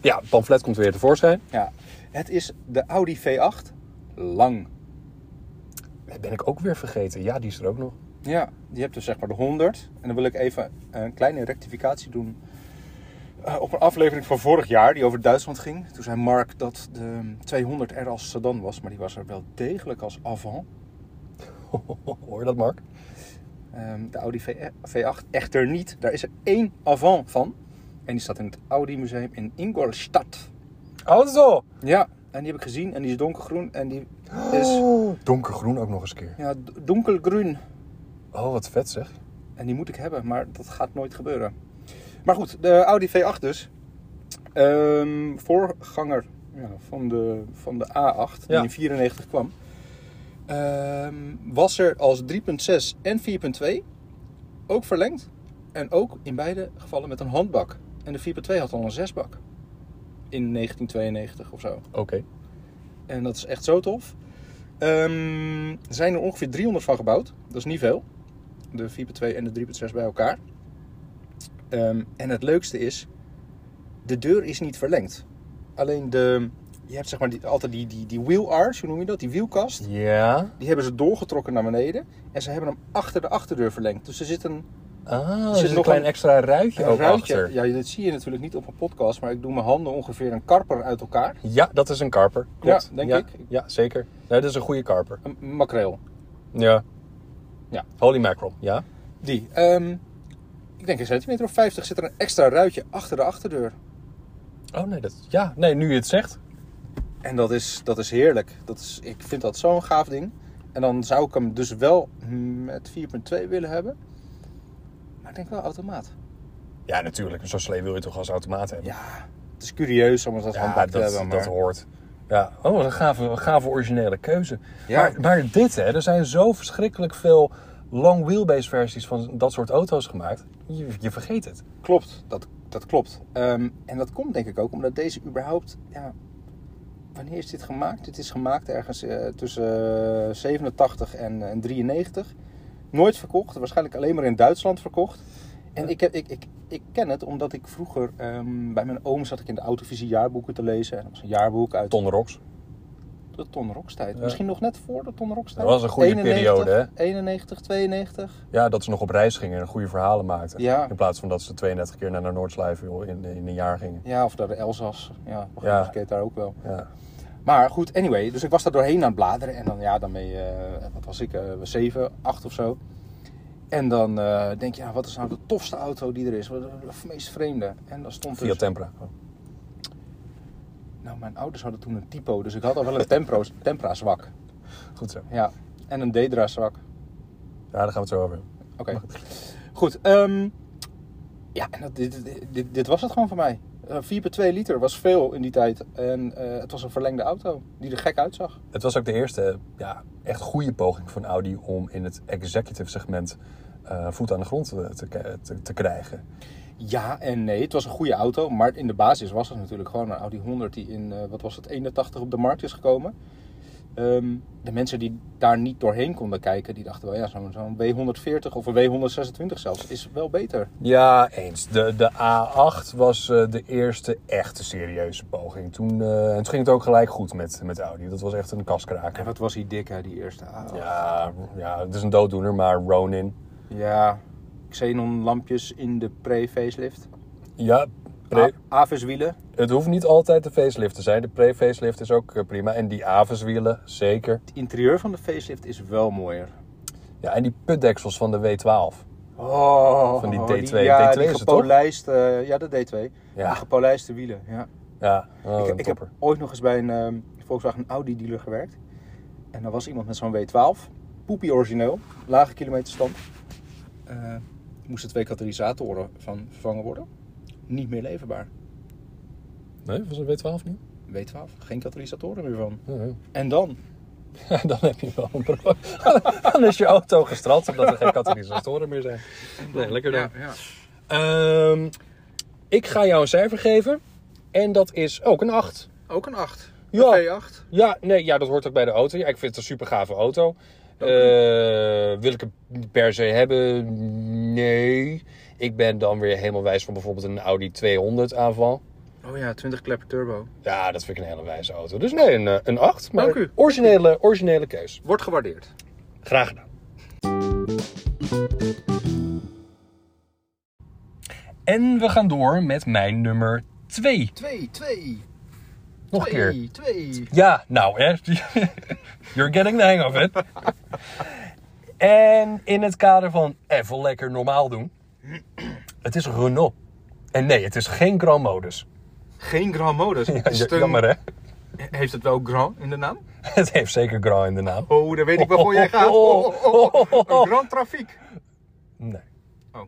[SPEAKER 2] Ja, het pamflet komt weer tevoorschijn.
[SPEAKER 3] Ja. Het is de Audi V8 lang.
[SPEAKER 2] Dat ben ik ook weer vergeten. Ja, die is er ook nog.
[SPEAKER 3] Ja, die hebt dus zeg maar de 100. En dan wil ik even een kleine rectificatie doen. eh, op een aflevering van vorig jaar, die over Duitsland ging. Toen zei Mark dat de 200 er als sedan was, maar die was er wel degelijk als avant.
[SPEAKER 2] Hoor je dat, Mark?
[SPEAKER 3] Ehm, de Audi V- V8 echter niet. Daar is er één avant van. En die staat in het Audi Museum in Ingolstadt.
[SPEAKER 2] Oh, zo.
[SPEAKER 3] Ja, en die heb ik gezien. En die is donkergroen. En die is
[SPEAKER 2] Oh. Donkergroen ook nog eens een keer.
[SPEAKER 3] ja, d- donkergroen.
[SPEAKER 2] Oh, wat vet zeg.
[SPEAKER 3] En die moet ik hebben, maar dat gaat nooit gebeuren. Maar goed, de Audi V8 dus. Ehm, voorganger ja, van, de, van de A8, die
[SPEAKER 2] Ja.
[SPEAKER 3] in 94 kwam. Ehm, was er als 3.6 en 4.2 ook verlengd. En ook in beide gevallen met een handbak. En de 4.2 had al een zesbak. In 1992 of zo.
[SPEAKER 2] Oké.
[SPEAKER 3] En dat is echt zo tof. Ehm, er zijn er ongeveer 300 van gebouwd. Dat is niet veel. De 4.2 en de 3.6 bij elkaar. Ehm, en het leukste is, de deur is niet verlengd. Alleen de, je hebt zeg maar die, altijd die, die, die wheel arch, hoe noem je dat? Die wielkast.
[SPEAKER 2] Ja.
[SPEAKER 3] Die hebben ze doorgetrokken naar beneden. En ze hebben hem achter de achterdeur verlengd. Dus er zit een,
[SPEAKER 2] Ah, er
[SPEAKER 3] zit
[SPEAKER 2] zit een
[SPEAKER 3] nog
[SPEAKER 2] klein
[SPEAKER 3] een-
[SPEAKER 2] extra ruitje
[SPEAKER 3] een
[SPEAKER 2] ook
[SPEAKER 3] ruitje.
[SPEAKER 2] Oh, achter.
[SPEAKER 3] Ja, dat zie je natuurlijk niet op een podcast. Maar ik doe mijn handen ongeveer een karper uit elkaar.
[SPEAKER 2] Ja, dat is een karper. Klopt.
[SPEAKER 3] Ja, denk ik.
[SPEAKER 2] Ja, zeker. Nee, dat is een goede karper.
[SPEAKER 3] Een makreel.
[SPEAKER 2] Ja.
[SPEAKER 3] Ja.
[SPEAKER 2] Holy mackerel. Ja.
[SPEAKER 3] Die. ehm, ik denk een centimeter of 50 zit er een extra ruitje achter de achterdeur.
[SPEAKER 2] Oh nee, dat... Ja, nee, nu je het zegt.
[SPEAKER 3] En dat is, dat is heerlijk. Dat is, ik vind dat zo'n gaaf ding. En dan zou ik hem dus wel met 4.2 willen hebben. Maar ik denk wel automaat.
[SPEAKER 2] Ja, natuurlijk. Zo'n slee wil je toch als automaat hebben?
[SPEAKER 3] Ja, het is curieus om dat handbak te
[SPEAKER 2] dat,
[SPEAKER 3] hebben. Maar...
[SPEAKER 2] dat hoort. Ja. Oh, wat een gave, een gave originele keuze.
[SPEAKER 3] Ja.
[SPEAKER 2] Maar, maar dit, hè. Er zijn zo verschrikkelijk veel long wheelbase versies van dat soort auto's gemaakt. Je, je vergeet het.
[SPEAKER 3] Klopt, dat, dat klopt. Ehm, en dat komt denk ik ook omdat deze überhaupt... Ja, wanneer is dit gemaakt? Dit is gemaakt ergens eh, tussen eh, 87 en, eh, en 93. Nooit verkocht, waarschijnlijk alleen maar in Duitsland verkocht. En ik, heb- ik, ik, ik ken het omdat ik vroeger ehm, bij mijn oom zat ik in de autovisie jaarboeken te lezen. En dat was een jaarboek uit
[SPEAKER 2] Ton Rocks.
[SPEAKER 3] de Ton Rokstijd.
[SPEAKER 2] Ja.
[SPEAKER 3] Misschien nog net voor de Ton Rokstijd.
[SPEAKER 2] Dat was een goede periode, hè?
[SPEAKER 3] 91, 92.
[SPEAKER 2] Ja, dat ze nog op reis gingen en goede verhalen maakten.
[SPEAKER 3] Ja.
[SPEAKER 2] In plaats van dat ze 32 keer naar de Noordslijven in, in een jaar gingen.
[SPEAKER 3] Ja, of naar de Elzas. Ja,
[SPEAKER 2] Ja.
[SPEAKER 3] ja. daar ook wel.
[SPEAKER 2] Ja.
[SPEAKER 3] Maar goed, anyway, dus ik was daar doorheen aan het bladeren. En dan, ja, dan ben je, eh, wat was ik, eh, zeven, acht of zo. En dan eh, denk je, ja, wat is nou de tofste auto die er is? Wat de meest vreemde? En dan stond
[SPEAKER 4] Via
[SPEAKER 3] dus...
[SPEAKER 4] Tempra.
[SPEAKER 3] Nou, mijn ouders hadden toen een typo, dus ik had al wel een Tempro, Tempra zwak.
[SPEAKER 4] Goed zo.
[SPEAKER 3] Ja, en een Dedra zwak.
[SPEAKER 4] Ja, daar gaan we het zo over hebben.
[SPEAKER 3] Oké. Goed. ehm, ja, en dat, dit, dit- dit, dit was het gewoon voor mij. Eh, 4,2 liter was veel in die tijd. En eh, het was een verlengde auto die er gek uitzag.
[SPEAKER 4] Het was ook de eerste ja, echt goede poging van Audi om in het executive segment eh, voet aan de grond eh, te, te, te krijgen.
[SPEAKER 3] Ja en nee, het was een goede auto. Maar in de basis was het natuurlijk gewoon een Audi 100 die in, eh, wat was het, 81 op de markt is gekomen. Ehm, de mensen die daar niet doorheen konden kijken, die dachten wel ja, zo'n zo'n W140 of een W126 zelfs is wel beter.
[SPEAKER 4] Ja, eens. De, de A8 was eh, de eerste echte serieuze poging. Toen, eh, en toen ging het ook gelijk goed met, met Audi. Dat was echt een
[SPEAKER 3] En
[SPEAKER 4] kaskraker.
[SPEAKER 3] wat was die dik hè, die eerste auto.
[SPEAKER 4] Ja, ja, het is een dooddoener, maar Ronin.
[SPEAKER 3] Ja, xenon lampjes in de pre-facelift.
[SPEAKER 4] Ja, pre-
[SPEAKER 3] Avis wielen.
[SPEAKER 4] het hoeft niet altijd de facelift te zijn. De pre-facelift is ook eh, prima. En die Avis-wielen, zeker.
[SPEAKER 3] Het interieur van de facelift is wel mooier.
[SPEAKER 4] Ja, en die putdeksels van de W12.
[SPEAKER 3] Oh,
[SPEAKER 4] Van die D2.
[SPEAKER 3] ja,
[SPEAKER 4] D2
[SPEAKER 3] die
[SPEAKER 4] is het,
[SPEAKER 3] gepolijste, eh, ja, de D2.
[SPEAKER 4] Ja.
[SPEAKER 3] Die gepolijste wielen, ja.
[SPEAKER 4] Ja, oh,
[SPEAKER 3] ik,
[SPEAKER 4] een
[SPEAKER 3] ik
[SPEAKER 4] topper.
[SPEAKER 3] heb ooit nog eens bij een ehm, Volkswagen Audi dealer gewerkt. En daar was iemand met zo'n W12. Poepie origineel. Lage kilometerstand. Eh moesten twee katalysatoren van vervangen worden. Niet meer leverbaar.
[SPEAKER 4] Nee, was een W12 niet?
[SPEAKER 3] W12, geen katalysatoren meer van.
[SPEAKER 4] Nee.
[SPEAKER 3] En dan?
[SPEAKER 4] Ja, dan heb je wel een probleem. dan is je auto gestrand omdat er geen katalysatoren meer zijn. Nee, lekker dan. Ehm, ik ga jou een cijfer geven. En dat is ook een 8.
[SPEAKER 3] Ook een 8.
[SPEAKER 4] Ja.
[SPEAKER 3] V8.
[SPEAKER 4] Ja, nee, ja, dat hoort ook bij de auto. Ja, ik vind het een super gave auto. Eh, wil ik hem per se hebben? Nee. Ik ben dan weer helemaal wijs van bijvoorbeeld een Audi 200 aanval.
[SPEAKER 3] Oh ja, 20 klepper turbo.
[SPEAKER 4] Ja, dat vind ik een hele wijze auto. Dus nee, een, eh, een 8. Maar
[SPEAKER 3] Dank u.
[SPEAKER 4] Originele, originele keus.
[SPEAKER 3] Wordt gewaardeerd.
[SPEAKER 4] Graag gedaan.
[SPEAKER 2] En we gaan door met mijn nummer 2.
[SPEAKER 3] 2, 2.
[SPEAKER 2] Nog een keer.
[SPEAKER 3] 2.
[SPEAKER 2] Ja, nou, hè. You're getting the hang of it. en in het kader van even lekker normaal doen. Het is Renault. En nee, het is geen Grand Modus.
[SPEAKER 3] Geen Grand Modus.
[SPEAKER 2] Ja,
[SPEAKER 3] Is het een-
[SPEAKER 2] Jammer, hè?
[SPEAKER 3] Heeft het wel Grand in de naam?
[SPEAKER 2] Het heeft zeker Grand in de naam.
[SPEAKER 3] Oh, daar weet ik waarvoor jij gaat. Oh, oh, oh, oh. Een Grand Trafiek.
[SPEAKER 2] Nee,
[SPEAKER 3] Oh.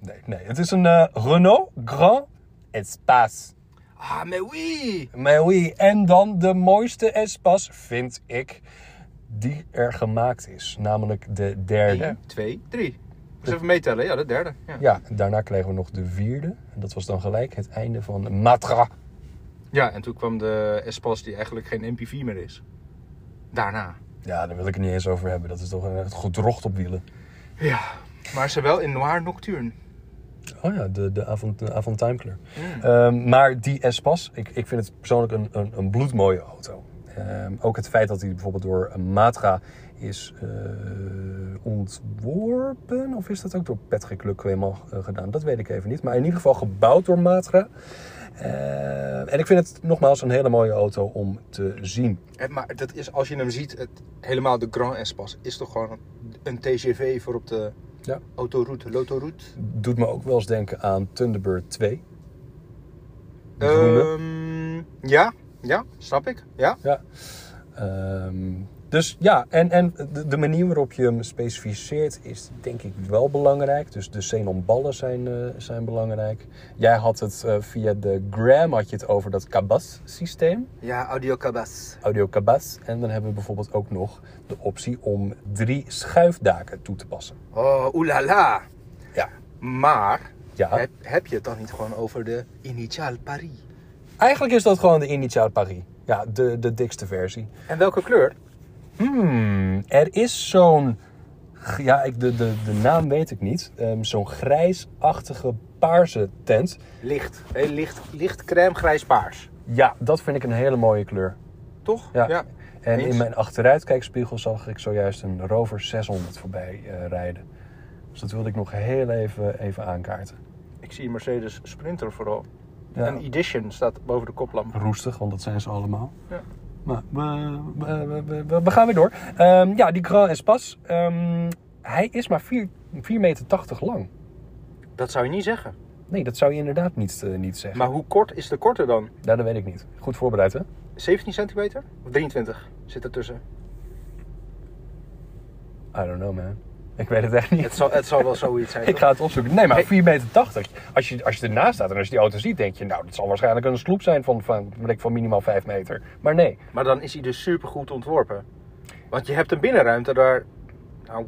[SPEAKER 2] nee, nee. Het is een eh, Renault Grand Espace.
[SPEAKER 3] Ah, mais oui.
[SPEAKER 2] Maar oui, en dan de mooiste Espace vind ik die er gemaakt is. Namelijk de derde.
[SPEAKER 3] 1, 2, 3. Dus even meetellen. Ja, de derde. Ja,
[SPEAKER 2] Ja, en daarna kregen we nog de vierde. En dat was dan gelijk het einde van Matra.
[SPEAKER 3] ja en toen kwam de Espas die eigenlijk geen MPV meer is. Daarna.
[SPEAKER 2] Ja, daar wil ik het niet eens over hebben. Dat is toch echt gedrocht op wielen.
[SPEAKER 3] Ja. Maar ze wel in Noir Nocturne.
[SPEAKER 2] Oh ja, de, de, avant, de avontuinkleur. Ehm, maar die Espas, ik, ik vind het persoonlijk een, een, een bloedmooie auto. Ehm, ook het feit dat hij bijvoorbeeld door Matra is eh, ontworpen. Of is dat ook door Patrick Lequemant eh, gedaan? Dat weet ik even niet. Maar in ieder geval gebouwd door Matra. Ehm, en ik vind het nogmaals een hele mooie auto om te zien.
[SPEAKER 3] Eh, Maar dat is, als je hem ziet, het, helemaal de Grand Espas is toch gewoon een- een TGV voor op de
[SPEAKER 2] Ja.
[SPEAKER 3] autoroute, lotoroute.
[SPEAKER 2] Doet me ook wel eens denken aan Thunderbird 2. Die groene.
[SPEAKER 3] Ehm ja, ja, snap ik. Ja.
[SPEAKER 2] Ja. Ehm, dus ja, en, en de, de manier waarop je hem specificeert is denk ik wel belangrijk. Dus de xenonballen zijn, eh, zijn belangrijk. Jij had het eh, via de gram had je het over dat cabas-systeem.
[SPEAKER 3] Ja, audio cabas.
[SPEAKER 2] Audio cabas. En dan hebben we bijvoorbeeld ook nog de optie om drie schuifdaken toe te passen.
[SPEAKER 3] Oh, oelala.
[SPEAKER 2] Ja.
[SPEAKER 3] Maar
[SPEAKER 2] Ja.
[SPEAKER 3] heb, heb je het dan niet gewoon over de Initial Paris?
[SPEAKER 2] Eigenlijk is dat gewoon de Initiaal Paris. Ja, de, de dikste versie.
[SPEAKER 3] En welke kleur?
[SPEAKER 2] Hmm, er is zo'n. Ja, ik, de, de, de naam weet ik niet. Ehm, zo'n grijsachtige paarse tent.
[SPEAKER 3] Licht. Heel licht, licht crème, grijs, paars.
[SPEAKER 2] Ja, dat vind ik een hele mooie kleur.
[SPEAKER 3] Toch?
[SPEAKER 2] Ja. En
[SPEAKER 3] eens.
[SPEAKER 2] in mijn achteruitkijkspiegel zag ik zojuist een Rover 600 voorbij eh, rijden. Dus dat wilde ik nog heel even, even aankaarten.
[SPEAKER 3] Ik zie een Mercedes Sprinter vooral.
[SPEAKER 2] Ja.
[SPEAKER 3] Een Edition staat boven de koplamp.
[SPEAKER 2] roestig, want dat zijn ze allemaal.
[SPEAKER 3] Ja.
[SPEAKER 2] Maar we, we, we, we- we gaan weer door. Ehm, ja, die Grand Espace. ehm, hij is maar 4,2 4,80 meter lang.
[SPEAKER 3] Dat zou je niet zeggen.
[SPEAKER 2] Nee, dat zou je inderdaad niet, eh, niet zeggen.
[SPEAKER 3] Maar hoe kort is de korte dan?
[SPEAKER 2] Nou, dat weet ik niet. Goed voorbereid, hè?
[SPEAKER 3] 17 centimeter? Of 23 zit ertussen?
[SPEAKER 2] I don't know, man. Ik weet het echt niet.
[SPEAKER 3] Het zal, het zal wel zoiets zijn.
[SPEAKER 2] Ik ga het opzoeken. Nee, maar 4,80 meter. Als je, als je ernaast staat en als je die auto ziet, denk je... Nou, dat zal waarschijnlijk een sloep zijn van, van, weet ik, van minimaal 5 meter. Maar nee.
[SPEAKER 3] Maar dan is hij dus supergoed ontworpen. Want je hebt een binnenruimte daar. Nou,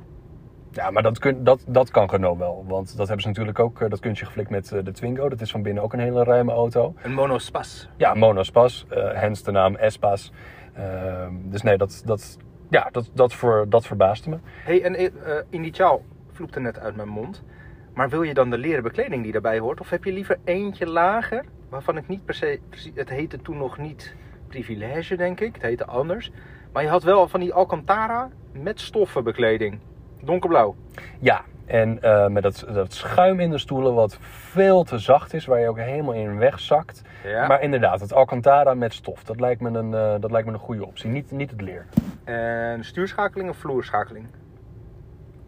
[SPEAKER 2] Ja, maar dat, kun, dat, dat kan Renault wel. Want dat hebben ze natuurlijk ook... eh, Dat kuntje geflikt met eh, de Twingo. Dat is van binnen ook een hele ruime auto.
[SPEAKER 3] een monospas.
[SPEAKER 2] Ja, monospas. eh hence de naam Espas. Ehm, dus nee, dat, dat, ja, dat, dat, ver, dat verbaasde me.
[SPEAKER 3] hey, en eh, eh, initiaal vloept er net uit mijn mond. Maar wil je dan de leren bekleding die daarbij hoort? Of heb je liever eentje lager, waarvan ik niet per se... precies- Het heette toen nog niet privilege, denk ik. Het heette anders. Maar je had wel van die Alcantara met stoffenbekleding. Donkerblauw.
[SPEAKER 2] Ja, en eh, met dat, dat schuim in de stoelen wat veel te zacht is, waar je ook helemaal in wegzakt.
[SPEAKER 3] Ja.
[SPEAKER 2] Maar inderdaad, het Alcantara met stof, dat lijkt me een, eh, dat lijkt me een goede optie. Niet, niet het leer.
[SPEAKER 3] En stuurschakeling of vloerschakeling?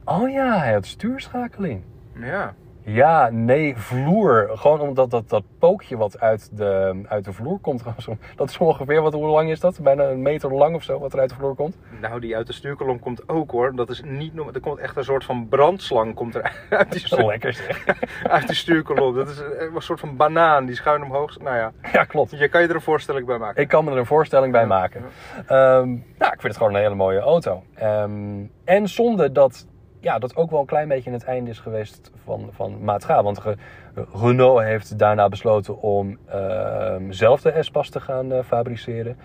[SPEAKER 2] Oh ja, hij had stuurschakeling.
[SPEAKER 3] Ja.
[SPEAKER 2] Ja, nee, vloer. Gewoon omdat dat, dat pookje wat uit de, uit de vloer komt. gewoon zo- Dat is ongeveer, wat, hoe lang is dat? Bijna een meter lang of zo, wat er uit de vloer komt.
[SPEAKER 3] Nou, die uit de stuurkolom komt ook hoor. Dat is niet normaal. Er komt echt een soort van brandslang komt er uit die,
[SPEAKER 2] Zo
[SPEAKER 3] stuur,
[SPEAKER 2] lekker zeg.
[SPEAKER 3] uit die stuurkolom. Dat is een, een soort van banaan die schuin omhoog. Nou ja,
[SPEAKER 2] Ja, klopt.
[SPEAKER 3] je kan je er een voorstelling bij maken.
[SPEAKER 2] Ik kan me er een voorstelling bij maken. Ehm, nou, ik vind het gewoon een hele mooie auto. Ehm, en zonde dat ja, dat ook wel een klein beetje het einde is geweest van, van Maatga. Want Re- Renault heeft daarna besloten om ehm, zelf de S-Pas te gaan eh, fabriceren.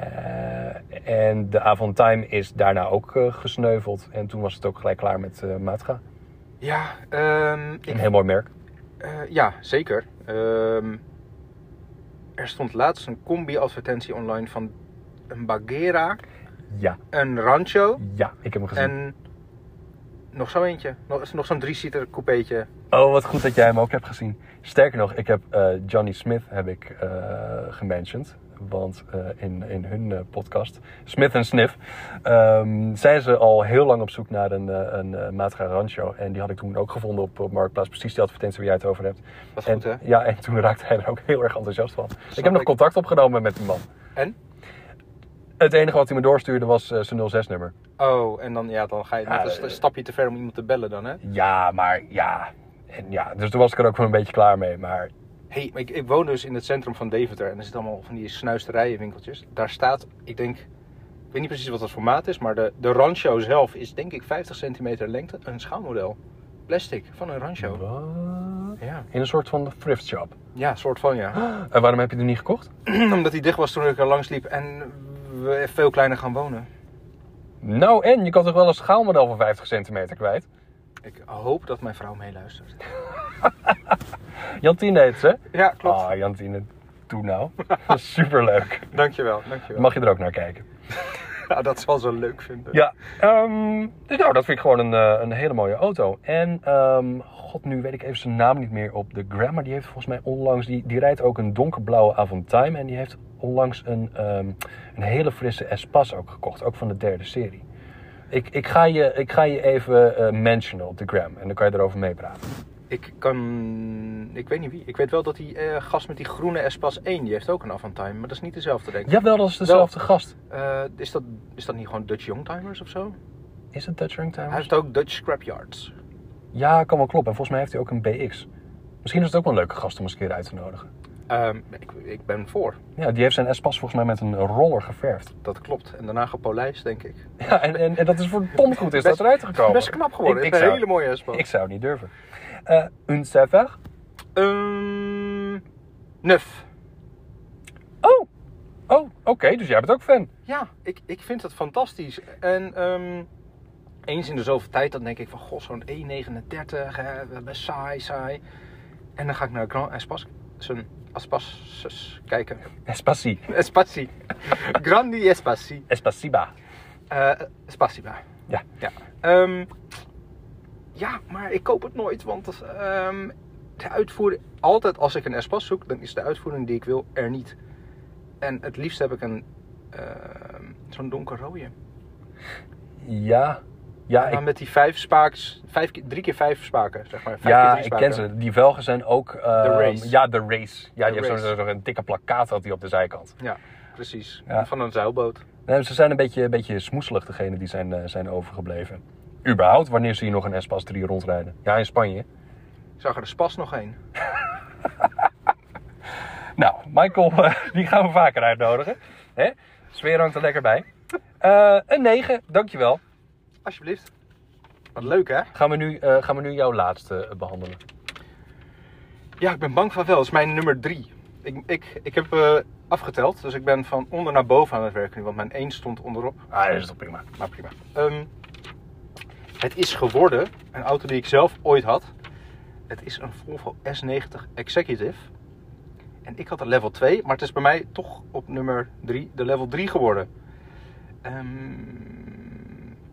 [SPEAKER 2] Eh, en de Avantime is daarna ook eh, gesneuveld. En toen was het ook gelijk klaar met eh Maatga.
[SPEAKER 3] Ja, ehm, ik-
[SPEAKER 2] Een heel mooi merk.
[SPEAKER 3] eh, ja zeker. Ehm, er stond laatst een combi-advertentie online van een Bagheera,
[SPEAKER 2] Ja,
[SPEAKER 3] een Rancho
[SPEAKER 2] ja, ik heb hem gezien.
[SPEAKER 3] en nog zo eentje. Nog, nog zo'n drie-seater coupeetje.
[SPEAKER 2] Oh, wat goed dat jij hem ook hebt gezien. Sterker nog, ik heb eh, Johnny Smith heb ik eh gementiond. Want eh, in, in hun eh, podcast, Smith en Sniff, ehm, zijn ze al heel lang op zoek naar een, eh, een eh, Matra Rancho. En die had ik toen ook gevonden op, op Marktplaats. Precies die advertentie waar jij het over hebt.
[SPEAKER 3] Wat
[SPEAKER 2] en,
[SPEAKER 3] goed, hè?
[SPEAKER 2] Ja, en toen raakte hij er ook heel erg enthousiast van. ik heb nog
[SPEAKER 3] ik.
[SPEAKER 2] contact opgenomen met die man.
[SPEAKER 3] En?
[SPEAKER 2] Het enige wat hij me doorstuurde was eh, zijn 06-nummer.
[SPEAKER 3] Oh, en dan, ja, dan ga je
[SPEAKER 2] Ja,
[SPEAKER 3] net een st-
[SPEAKER 2] eh,
[SPEAKER 3] stapje te ver om iemand te bellen dan, hè?
[SPEAKER 2] Ja, maar ja. En ja, dus toen was ik er ook wel een beetje klaar mee. Maar
[SPEAKER 3] Hey, ik, ik woon dus in het centrum van Deventer en er zitten allemaal van die snuisterijenwinkeltjes. Daar staat, ik denk, ik weet niet precies wat het formaat is, maar de, de rancho zelf is denk ik 50 centimeter lengte, een schaalmodel. Plastic van een rancho. Ja,
[SPEAKER 2] In een soort van thrift shop.
[SPEAKER 3] ja soort van ja.
[SPEAKER 2] En waarom heb je die niet gekocht?
[SPEAKER 3] Omdat hij dicht was toen ik er langs liep en we veel kleiner gaan wonen.
[SPEAKER 2] Nou en, je kan toch wel een schaalmodel van 50 centimeter kwijt?
[SPEAKER 3] Ik hoop dat mijn vrouw meeluistert.
[SPEAKER 2] Jantine heet ze.
[SPEAKER 3] Ja,
[SPEAKER 2] Ah,
[SPEAKER 3] klopt.
[SPEAKER 2] Jantine, doe nou. Superleuk.
[SPEAKER 3] Dankjewel, dankjewel.
[SPEAKER 2] Mag je er ook naar kijken.
[SPEAKER 3] Ja, dat zal ze leuk vinden.
[SPEAKER 2] Ja, ehm, dus nou, dat vind ik gewoon een, eh, een hele mooie auto. En, ehm, god, nu weet ik even zijn naam niet meer op de gram, maar die heeft volgens mij onlangs, die, die rijdt ook een donkerblauwe Avantime en die heeft onlangs een, ehm, een hele frisse Espas ook gekocht, ook van de derde serie. Ik, ik, ga, je, ik ga je even eh mentionen op de gram en dan kan je erover meepraten.
[SPEAKER 3] Ik kan. Ik weet niet wie. Ik weet wel dat die eh, gast met die groene Espas 1, die heeft ook een Avantime, maar dat is niet dezelfde, denk ik.
[SPEAKER 2] Jawel, dat is dezelfde gast.
[SPEAKER 3] Eh, is, dat, is dat niet gewoon Dutch Youngtimers of zo?
[SPEAKER 2] Is het Dutch
[SPEAKER 3] Hij
[SPEAKER 2] Ringtime?
[SPEAKER 3] heeft ook Dutch Scrapyards.
[SPEAKER 2] Ja, kan wel kloppen. En volgens mij heeft hij ook een BX. Misschien is het ook wel een leuke gast om eens een keer uit te nodigen.
[SPEAKER 3] Ehm, ik, ik ben voor,
[SPEAKER 2] Ja, die heeft zijn Espas volgens mij met een roller geverfd.
[SPEAKER 3] dat klopt. En daarna gepolijst, denk ik.
[SPEAKER 2] Ja, en, en, en dat is verdomd goed is dat
[SPEAKER 3] Best-
[SPEAKER 2] eruit gekomen.
[SPEAKER 3] Best knap geworden.
[SPEAKER 2] Ik, ik,
[SPEAKER 3] Ik, een
[SPEAKER 2] zou,
[SPEAKER 3] hele mooie Espas.
[SPEAKER 2] ik zou het niet durven. Eh een server.
[SPEAKER 3] Ehm, nuf.
[SPEAKER 2] Oh, oh oké, dus jij bent ook fan.
[SPEAKER 3] Ja, ik, ik vind het fantastisch. En ehm, eens in de zoveel tijd, dan denk ik van... God, zo'n 1,39. hè, we hebben saai, saai. En dan ga ik naar Grand Espas... Zijn Aspas kijken.
[SPEAKER 2] Espasi,
[SPEAKER 3] Espassi. Grandi Espassi.
[SPEAKER 2] Espasiba.
[SPEAKER 3] Eh Spasiba.
[SPEAKER 2] Ja.
[SPEAKER 3] Ja. Ehm, ja, maar ik koop het nooit, want ehm, de uitvoering... Altijd als ik een Espas zoek, dan is de uitvoering die ik wil er niet. En het liefst heb ik een... ehm, Zo'n donkerrode.
[SPEAKER 2] Ja,
[SPEAKER 4] Ja,
[SPEAKER 3] En dan
[SPEAKER 4] ik,
[SPEAKER 3] met die vijf spaaks, vijf, keer- drie keer vijf spaken, zeg maar. Vijf keer
[SPEAKER 4] ja,
[SPEAKER 3] drie
[SPEAKER 4] ik
[SPEAKER 3] spaken.
[SPEAKER 4] ken ze. Die velgen zijn ook... ehm,
[SPEAKER 3] Race.
[SPEAKER 4] Ja, de race. Ja, die heeft
[SPEAKER 3] De
[SPEAKER 4] zo'n
[SPEAKER 3] Race.
[SPEAKER 4] zo'n- zo'n dikke plakkaat had die op de zijkant.
[SPEAKER 3] Ja, precies.
[SPEAKER 4] Ja.
[SPEAKER 3] Van een zeilboot.
[SPEAKER 4] Nee, ze zijn een beetje, een beetje smoeselig, degene die zijn, eh, zijn overgebleven. Überhaupt, wanneer zie je nog een Espas 3 rondrijden? Ja, in Spanje.
[SPEAKER 3] Ik zag er de spas nog één.
[SPEAKER 4] Nou, Michael, eh, die gaan we vaker uitnodigen. Hè? Sfeer hangt er lekker bij. Eh, een 9, dankjewel.
[SPEAKER 3] Alsjeblieft. Wat leuk, hè?
[SPEAKER 4] Gaan we nu, eh, gaan we nu jouw laatste eh, behandelen.
[SPEAKER 3] Ja, ik ben bang van wel. Dat is mijn nummer drie. Ik, ik, ik heb eh, afgeteld, dus ik ben van onder naar boven aan het werken nu, want mijn één stond onderop.
[SPEAKER 4] Ah, dat is toch prima.
[SPEAKER 3] Maar prima. Ehm, het is geworden een auto die ik zelf ooit had. Het is een Volvo S90 Executive. En ik had een level 2, maar het is bij mij toch op nummer 3 de level 3 geworden. Ehm,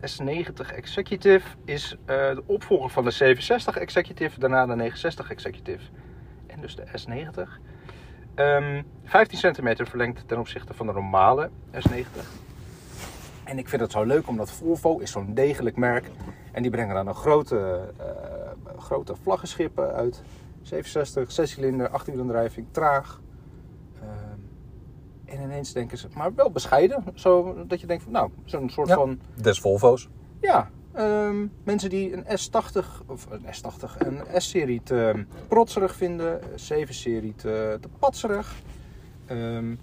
[SPEAKER 3] S90 Executive is eh, de opvolger van de 67 Executive, daarna de 69 Executive. En dus de S90. Ehm 15 centimeter verlengd ten opzichte van de normale S90. En ik vind het zo leuk omdat Volvo is zo'n degelijk merk. En die brengen dan een grote, eh, grote vlaggenschip uit. 67, 6 cilinder, 18 wielaandrijving, traag. Ehm, en ineens denken ze, maar wel bescheiden. Zo, dat je denkt, van, nou, zo'n soort
[SPEAKER 4] Ja.
[SPEAKER 3] van...
[SPEAKER 4] Des Volvo's.
[SPEAKER 3] Ja, ehm, mensen die een S80 of een S80, een S-serie te protserig vinden, een 7-serie te, te patserig. Ehm,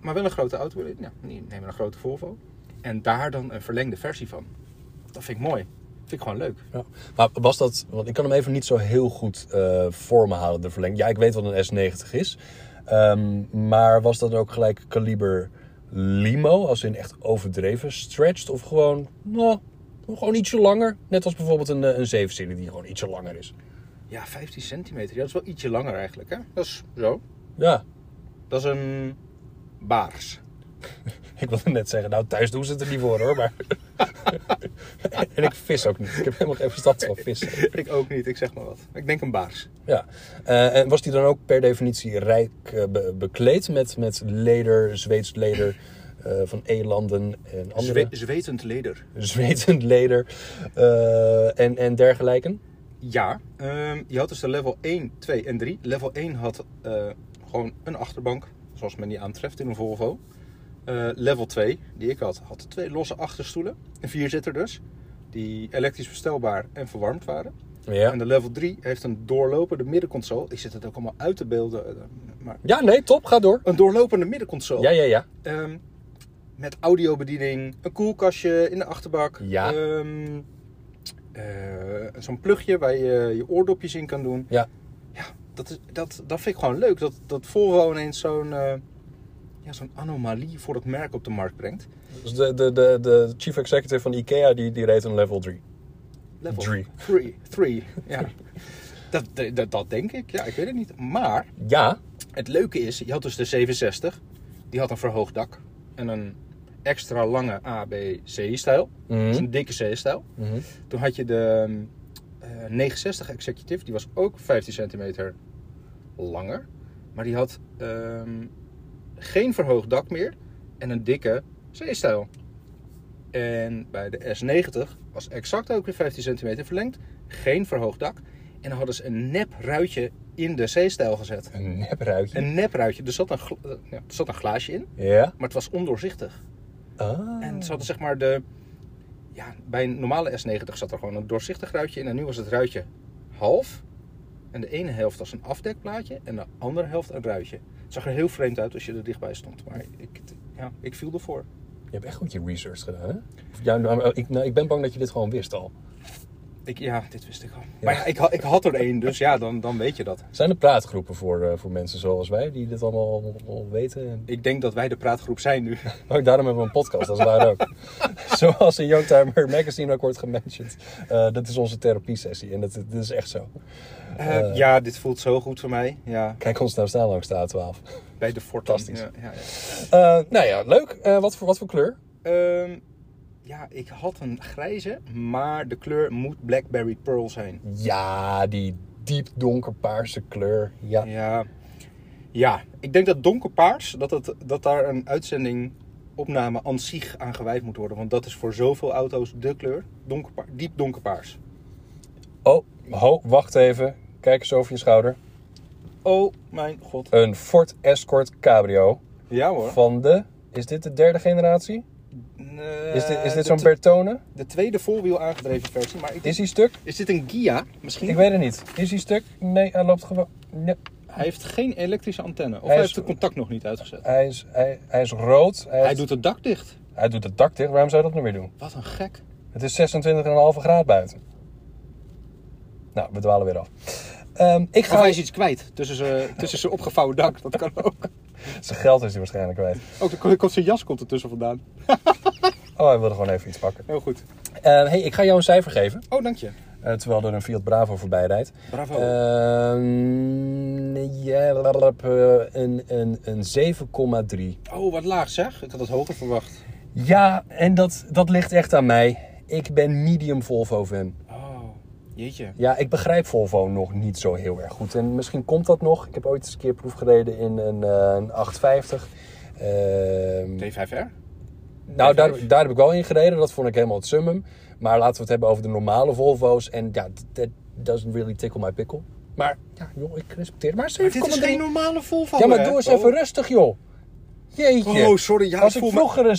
[SPEAKER 3] maar wel een grote auto willen. Ja, die nemen een grote Volvo. En daar dan een verlengde versie van. Dat vind ik mooi. vind ik gewoon leuk.
[SPEAKER 2] Ja. Maar was dat, want ik kan hem even niet zo heel goed eh voor me halen, de verlenging. Ja, ik weet wat een S90 is. Ehm, maar was dat ook gelijk kaliber limo, als in echt overdreven, stretched? Of gewoon, nou, gewoon ietsje langer? Net als bijvoorbeeld een, eh, een 7-serie die gewoon ietsje langer is.
[SPEAKER 3] Ja, 15 centimeter. Ja, dat is wel ietsje langer eigenlijk. Hè? Dat is zo.
[SPEAKER 2] Ja,
[SPEAKER 3] Dat is een baars.
[SPEAKER 2] ik wilde net zeggen, nou thuis doen ze het er niet voor hoor, maar... en ik vis ook niet. Ik heb helemaal geen verstand van vissen.
[SPEAKER 3] ik ook niet, ik zeg maar wat. Ik denk een baars.
[SPEAKER 2] Ja, Eh, en was die dan ook per definitie rijk eh, be- bekleed met, met leder, Zweeds leder eh, van E-landen en andere
[SPEAKER 3] Zwe- zwetend leder.
[SPEAKER 2] Zweedend leder eh, en, en dergelijke?
[SPEAKER 3] Ja, ehm, je had dus de level 1, 2 en 3. Level 1 had eh, gewoon een achterbank, zoals men die aantreft in een Volvo. Eh, level 2, die ik had, had twee losse achterstoelen. Een vierzitter dus, die elektrisch bestelbaar en verwarmd waren.
[SPEAKER 2] Ja.
[SPEAKER 3] En de level 3 heeft een doorlopende middenconsole. Ik zit het ook allemaal uit te beelden. eh, Maar
[SPEAKER 2] ja, nee, top, ga door.
[SPEAKER 3] een doorlopende middenconsole.
[SPEAKER 2] Ja, ja, ja.
[SPEAKER 3] Ehm, met audiobediening, een koelkastje in de achterbak.
[SPEAKER 2] Ja.
[SPEAKER 3] Ehm, eh, Zo'n plugje waar je je oordopjes in kan doen.
[SPEAKER 2] Ja.
[SPEAKER 3] Ja, dat, is, dat, dat vind ik gewoon leuk. Dat, dat Volvo ineens zo'n eh, ja, zo'n anomalie voor het merk op de markt brengt.
[SPEAKER 2] Dus de, de, de, de chief executive van IKEA, die, die reed een level 3.
[SPEAKER 3] Level
[SPEAKER 2] Drie.
[SPEAKER 3] 3. ja. dat, dat, dat denk ik. Ja, ik weet het niet. Maar
[SPEAKER 2] Ja,
[SPEAKER 3] Het leuke is, je had dus de 67. Die had een verhoogd dak. En een extra lange ABC-stijl.
[SPEAKER 2] Mhm.
[SPEAKER 3] Dus een dikke C-stijl.
[SPEAKER 2] Mhm.
[SPEAKER 3] Toen had je de eh, 69 Executive. Die was ook 15 centimeter langer. Maar die had ehm, geen verhoogd dak meer. En een dikke C-stijl. En bij de S90 was exact ook weer 15 centimeter verlengd. Geen verhoogd dak. En dan hadden ze een nep ruitje in de C-stijl gezet.
[SPEAKER 2] een nepruitje.
[SPEAKER 3] Een nepruitje. Er zat een, gla- eh, ja, er zat een glaasje in,
[SPEAKER 2] Ja.
[SPEAKER 3] maar het was ondoorzichtig.
[SPEAKER 2] Ah.
[SPEAKER 3] En ze hadden zeg maar de... Ja, bij een normale S90 zat er gewoon een doorzichtig ruitje in. En nu was het ruitje half. En de ene helft was een afdekplaatje en de andere helft een ruitje. Het zag er heel vreemd uit als je er dichtbij stond. Maar ik, ja, ik viel ervoor.
[SPEAKER 2] Je hebt echt goed je research gedaan, hè? Ja, nou, ik, nou, ik ben bang dat je dit gewoon wist al.
[SPEAKER 3] Ik, ja, dit wist ik al. Maar ja, ik, ha- ik had er één, dus ja, dan, dan weet je dat.
[SPEAKER 2] Zijn er praatgroepen voor, eh, voor mensen zoals wij, die dit allemaal al- al weten en
[SPEAKER 3] Ik denk dat wij de praatgroep zijn nu.
[SPEAKER 2] Ook daarom hebben we een podcast, dat is waar ook. Zoals in Youngtimer Magazine ook wordt gementiond. Eh, dat is onze therapie-sessie en dat, dat is echt zo.
[SPEAKER 3] Eh, ja, dit voelt zo goed voor mij. Ja,
[SPEAKER 2] Kijk ons nou staan langs de A12.
[SPEAKER 3] bij de Fort.
[SPEAKER 2] Fantastisch.
[SPEAKER 3] Ja, ja, ja.
[SPEAKER 2] Eh, nou ja, leuk. Eh, wat, voor, wat voor kleur?
[SPEAKER 3] Ehm, ja, ik had een grijze, maar de kleur moet Blackberry Pearl zijn.
[SPEAKER 2] Ja, die diep donkerpaarse kleur. Ja.
[SPEAKER 3] Ja, ja ik denk dat donkerpaars, dat, het, dat daar een uitzending opname aan zich aan gewijd moet worden. Want dat is voor zoveel auto's de kleur. Donkerpa- diep donkerpaars.
[SPEAKER 2] Oh, ho, wacht even. Kijk eens over je schouder.
[SPEAKER 3] Oh mijn god.
[SPEAKER 2] Een Ford Escort Cabrio
[SPEAKER 3] Ja hoor.
[SPEAKER 2] van de... Is dit de derde generatie?
[SPEAKER 3] Eh,
[SPEAKER 2] Is dit, is dit
[SPEAKER 3] de
[SPEAKER 2] zo'n
[SPEAKER 3] tw-
[SPEAKER 2] Bertone?
[SPEAKER 3] De tweede voorwiel aangedreven versie. Maar ik,
[SPEAKER 2] Is
[SPEAKER 3] is,
[SPEAKER 2] hij stuk?
[SPEAKER 3] dit een Gia? Misschien.
[SPEAKER 2] Ik weet het niet. Is hij stuk? Nee, hij loopt gewoon... Nee.
[SPEAKER 3] Hij heeft geen elektrische antenne. Of hij,
[SPEAKER 2] Hij is-
[SPEAKER 3] heeft het contact nog niet uitgezet.
[SPEAKER 2] Hij, is, hij, hij is rood. Hij,
[SPEAKER 3] Hij
[SPEAKER 2] heeft-
[SPEAKER 3] doet het dak dicht.
[SPEAKER 2] hij doet het dak dicht. Waarom zou je dat nu weer doen?
[SPEAKER 3] Wat een gek.
[SPEAKER 2] Het is 26,5 graad buiten. Nou, we dwalen weer af. Ehm, ik
[SPEAKER 3] Of
[SPEAKER 2] ga...
[SPEAKER 3] hij is iets kwijt tussen zijn, tussen zijn opgevouwen dak. Dat kan ook.
[SPEAKER 2] Zijn geld is hij waarschijnlijk kwijt.
[SPEAKER 3] Ook dan komt- komt zijn jas komt ertussen vandaan.
[SPEAKER 2] Oh, hij wilde gewoon even iets pakken.
[SPEAKER 3] Heel goed.
[SPEAKER 2] Hé, hey, ik ga jou een cijfer geven.
[SPEAKER 3] Oh, dank je.
[SPEAKER 2] eh, terwijl er een Fiat Bravo voorbij rijdt.
[SPEAKER 3] Bravo.
[SPEAKER 2] Ehm, ja, lalap, eh, een, een, een 7,3.
[SPEAKER 3] Oh, wat laag zeg. Ik had het hoger verwacht.
[SPEAKER 2] Ja, en dat, dat ligt echt aan mij. Ik ben medium Volvo fan.
[SPEAKER 3] Oh, jeetje.
[SPEAKER 2] Ja, ik begrijp Volvo nog niet zo heel erg goed. En misschien komt dat nog. Ik heb ooit eens een keer proefgereden in een, eh, een 850. Ehm,
[SPEAKER 3] T5R?
[SPEAKER 2] nou, daar, daar heb ik wel in gereden. Dat vond ik helemaal het summum. Maar laten we het hebben over de normale Volvo's. En ja, that- that doesn't really tickle my pickle. Maar ja, joh, ik respecteer. Maar 7,3.
[SPEAKER 3] Dit is geen normale Volvo.
[SPEAKER 2] Ja, maar
[SPEAKER 3] hè?
[SPEAKER 2] doe eens even
[SPEAKER 3] Oh.
[SPEAKER 2] rustig, joh. Jeetje.
[SPEAKER 3] Oh, sorry, ja,
[SPEAKER 2] Als
[SPEAKER 3] ik
[SPEAKER 2] ik
[SPEAKER 3] voel me-
[SPEAKER 2] vroeger een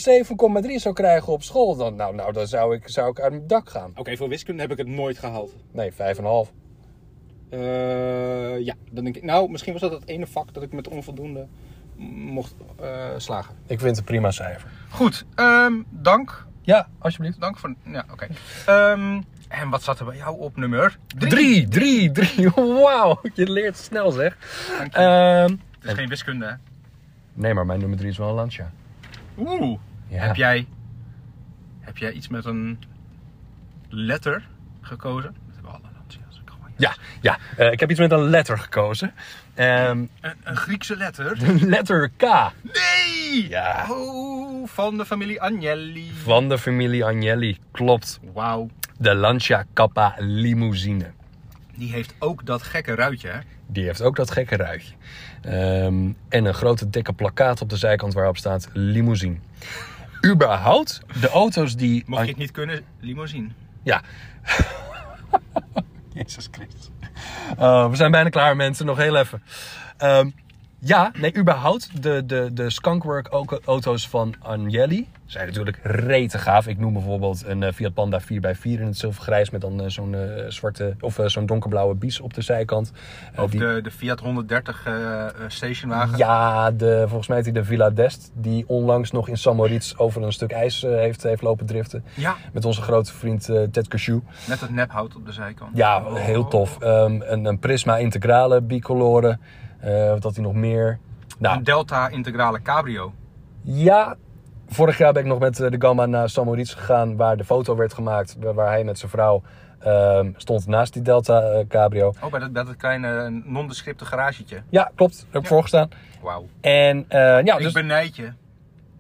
[SPEAKER 2] 7,3 zou krijgen op school, dan, nou, nou, dan zou, ik, zou ik uit mijn dak gaan.
[SPEAKER 3] Oké, voor wiskunde heb ik het nooit gehaald.
[SPEAKER 2] Nee, 5,5.
[SPEAKER 3] Eh, ja, dan denk ik. Nou, misschien was dat het ene vak dat ik met onvoldoende m- mocht eh, slagen.
[SPEAKER 2] Ik vind het een prima cijfer.
[SPEAKER 3] Goed, ehm, dank.
[SPEAKER 2] Ja, alsjeblieft.
[SPEAKER 3] Dank voor. Ja, oké. Ehm, en wat zat er bij jou op nummer
[SPEAKER 2] 3, 3, 3. Wauw, je leert snel zeg. Ehm,
[SPEAKER 3] Het is geen wiskunde, hè?
[SPEAKER 2] nee, maar mijn nummer 3 is wel een Lancia.
[SPEAKER 3] Oeh.
[SPEAKER 2] Ja.
[SPEAKER 3] Heb, jij, heb jij iets met een letter gekozen? Dat hebben alle Lancia's. Ik gooi.
[SPEAKER 2] Ja, ja. Eh, ik heb iets met een letter gekozen. Ehm,
[SPEAKER 3] Een, een Griekse letter?
[SPEAKER 2] letter K
[SPEAKER 3] Nee!
[SPEAKER 2] Ja.
[SPEAKER 3] Oh, van de familie Agnelli.
[SPEAKER 2] van de familie Agnelli. Klopt.
[SPEAKER 3] Wauw.
[SPEAKER 2] De Lancia Kappa Limousine.
[SPEAKER 3] Die heeft ook dat gekke ruitje, hè?
[SPEAKER 2] Die heeft ook dat gekke ruitje. Ehm, en een grote dikke plakkaat op de zijkant waarop staat limousine. Überhaupt, de auto's die...
[SPEAKER 3] Mocht je het niet kunnen, limousine.
[SPEAKER 2] Ja. Jezus Christus. Oh, we zijn bijna klaar mensen, nog heel even. Ehm, ja, nee, überhaupt, de, de, de skunkwork au- auto's van Agnelli zijn natuurlijk rete gaaf. Ik noem bijvoorbeeld een eh, Fiat Panda 4x4 in het zilvergrijs met dan eh, zo'n eh, zwarte, of eh, zo'n donkerblauwe bies op de zijkant. Eh,
[SPEAKER 3] Of
[SPEAKER 2] die-
[SPEAKER 3] de, de Fiat 130 eh, eh, stationwagen.
[SPEAKER 2] ja, de, volgens mij heet hij de Villa d'Est. Die onlangs nog in San Moritz over een stuk ijs eh, heeft, heeft lopen driften.
[SPEAKER 3] Ja.
[SPEAKER 2] Met onze grote vriend eh, Ted Cashew.
[SPEAKER 3] Met het nephout op de zijkant.
[SPEAKER 2] Ja,
[SPEAKER 3] Oh.
[SPEAKER 2] heel tof. Ehm, een, een Prisma Integrale bicoloren. Eh, wat had hij nog meer? Nou,
[SPEAKER 3] Een Delta Integrale Cabrio.
[SPEAKER 2] ja. Vorig jaar ben ik nog met eh, de Gamma naar San Moritz gegaan. Waar de foto werd gemaakt. Waar, waar hij met zijn vrouw ehm, stond naast die Delta eh, Cabrio.
[SPEAKER 3] Oh, bij dat, bij dat kleine nondescripte garagetje.
[SPEAKER 2] Ja, klopt. Daar heb ik voor gestaan.
[SPEAKER 3] Wauw.
[SPEAKER 2] En eh, ja, dus...
[SPEAKER 3] Ik benijd je.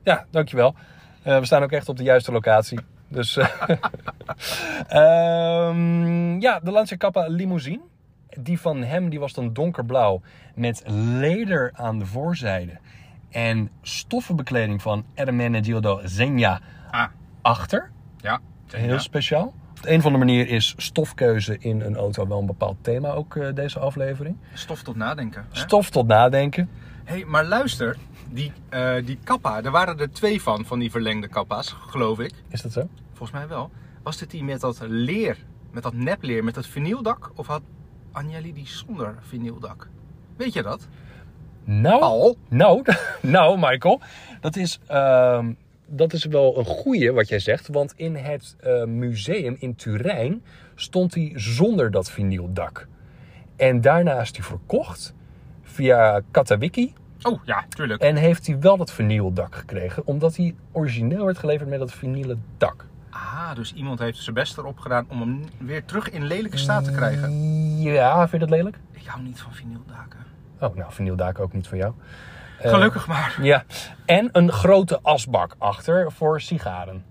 [SPEAKER 2] Ja, dankjewel. Eh, we staan ook echt op de juiste locatie. Dus eh, ehm, ja, de Lancia Kappa limousine. Die van hem die was dan donkerblauw met leder aan de voorzijde. En stoffenbekleding van Ermene Gildo Zegna
[SPEAKER 3] Ah,
[SPEAKER 2] achter.
[SPEAKER 3] ja.
[SPEAKER 2] Heel speciaal. Op de een of andere manier is stofkeuze in een auto wel een bepaald thema ook eh, deze aflevering.
[SPEAKER 3] Stof tot nadenken. hè?
[SPEAKER 2] Stof tot nadenken.
[SPEAKER 3] Hé, hey, maar luister. Die, eh, die kappa, er waren er twee van, van die verlengde kappa's, geloof ik.
[SPEAKER 2] Is dat zo?
[SPEAKER 3] Volgens mij wel. Was dit die met dat leer, met dat nepleer, met dat vinyldak? Of had Agnelli die zonder vinyldak? Weet je dat?
[SPEAKER 2] Nou,
[SPEAKER 3] Al?
[SPEAKER 2] Nou, nou Michael, dat is, ehm, dat is wel een goeie wat jij zegt. Want in het eh, museum in Turijn stond hij zonder dat vinyldak. En daarna is hij verkocht via Katawiki.
[SPEAKER 3] Oh ja, tuurlijk.
[SPEAKER 2] En heeft hij wel dat vinyldak gekregen. Omdat hij origineel werd geleverd met dat vinylen dak.
[SPEAKER 3] Ah, dus iemand heeft zijn best erop gedaan om hem weer terug in lelijke staat te krijgen.
[SPEAKER 2] Ja, vind je dat lelijk?
[SPEAKER 3] Ik hou niet van vinyldaken.
[SPEAKER 2] Oh, nou, vinyldak ook niet voor jou.
[SPEAKER 3] Gelukkig maar.
[SPEAKER 2] Ja, en een grote asbak achter voor sigaren.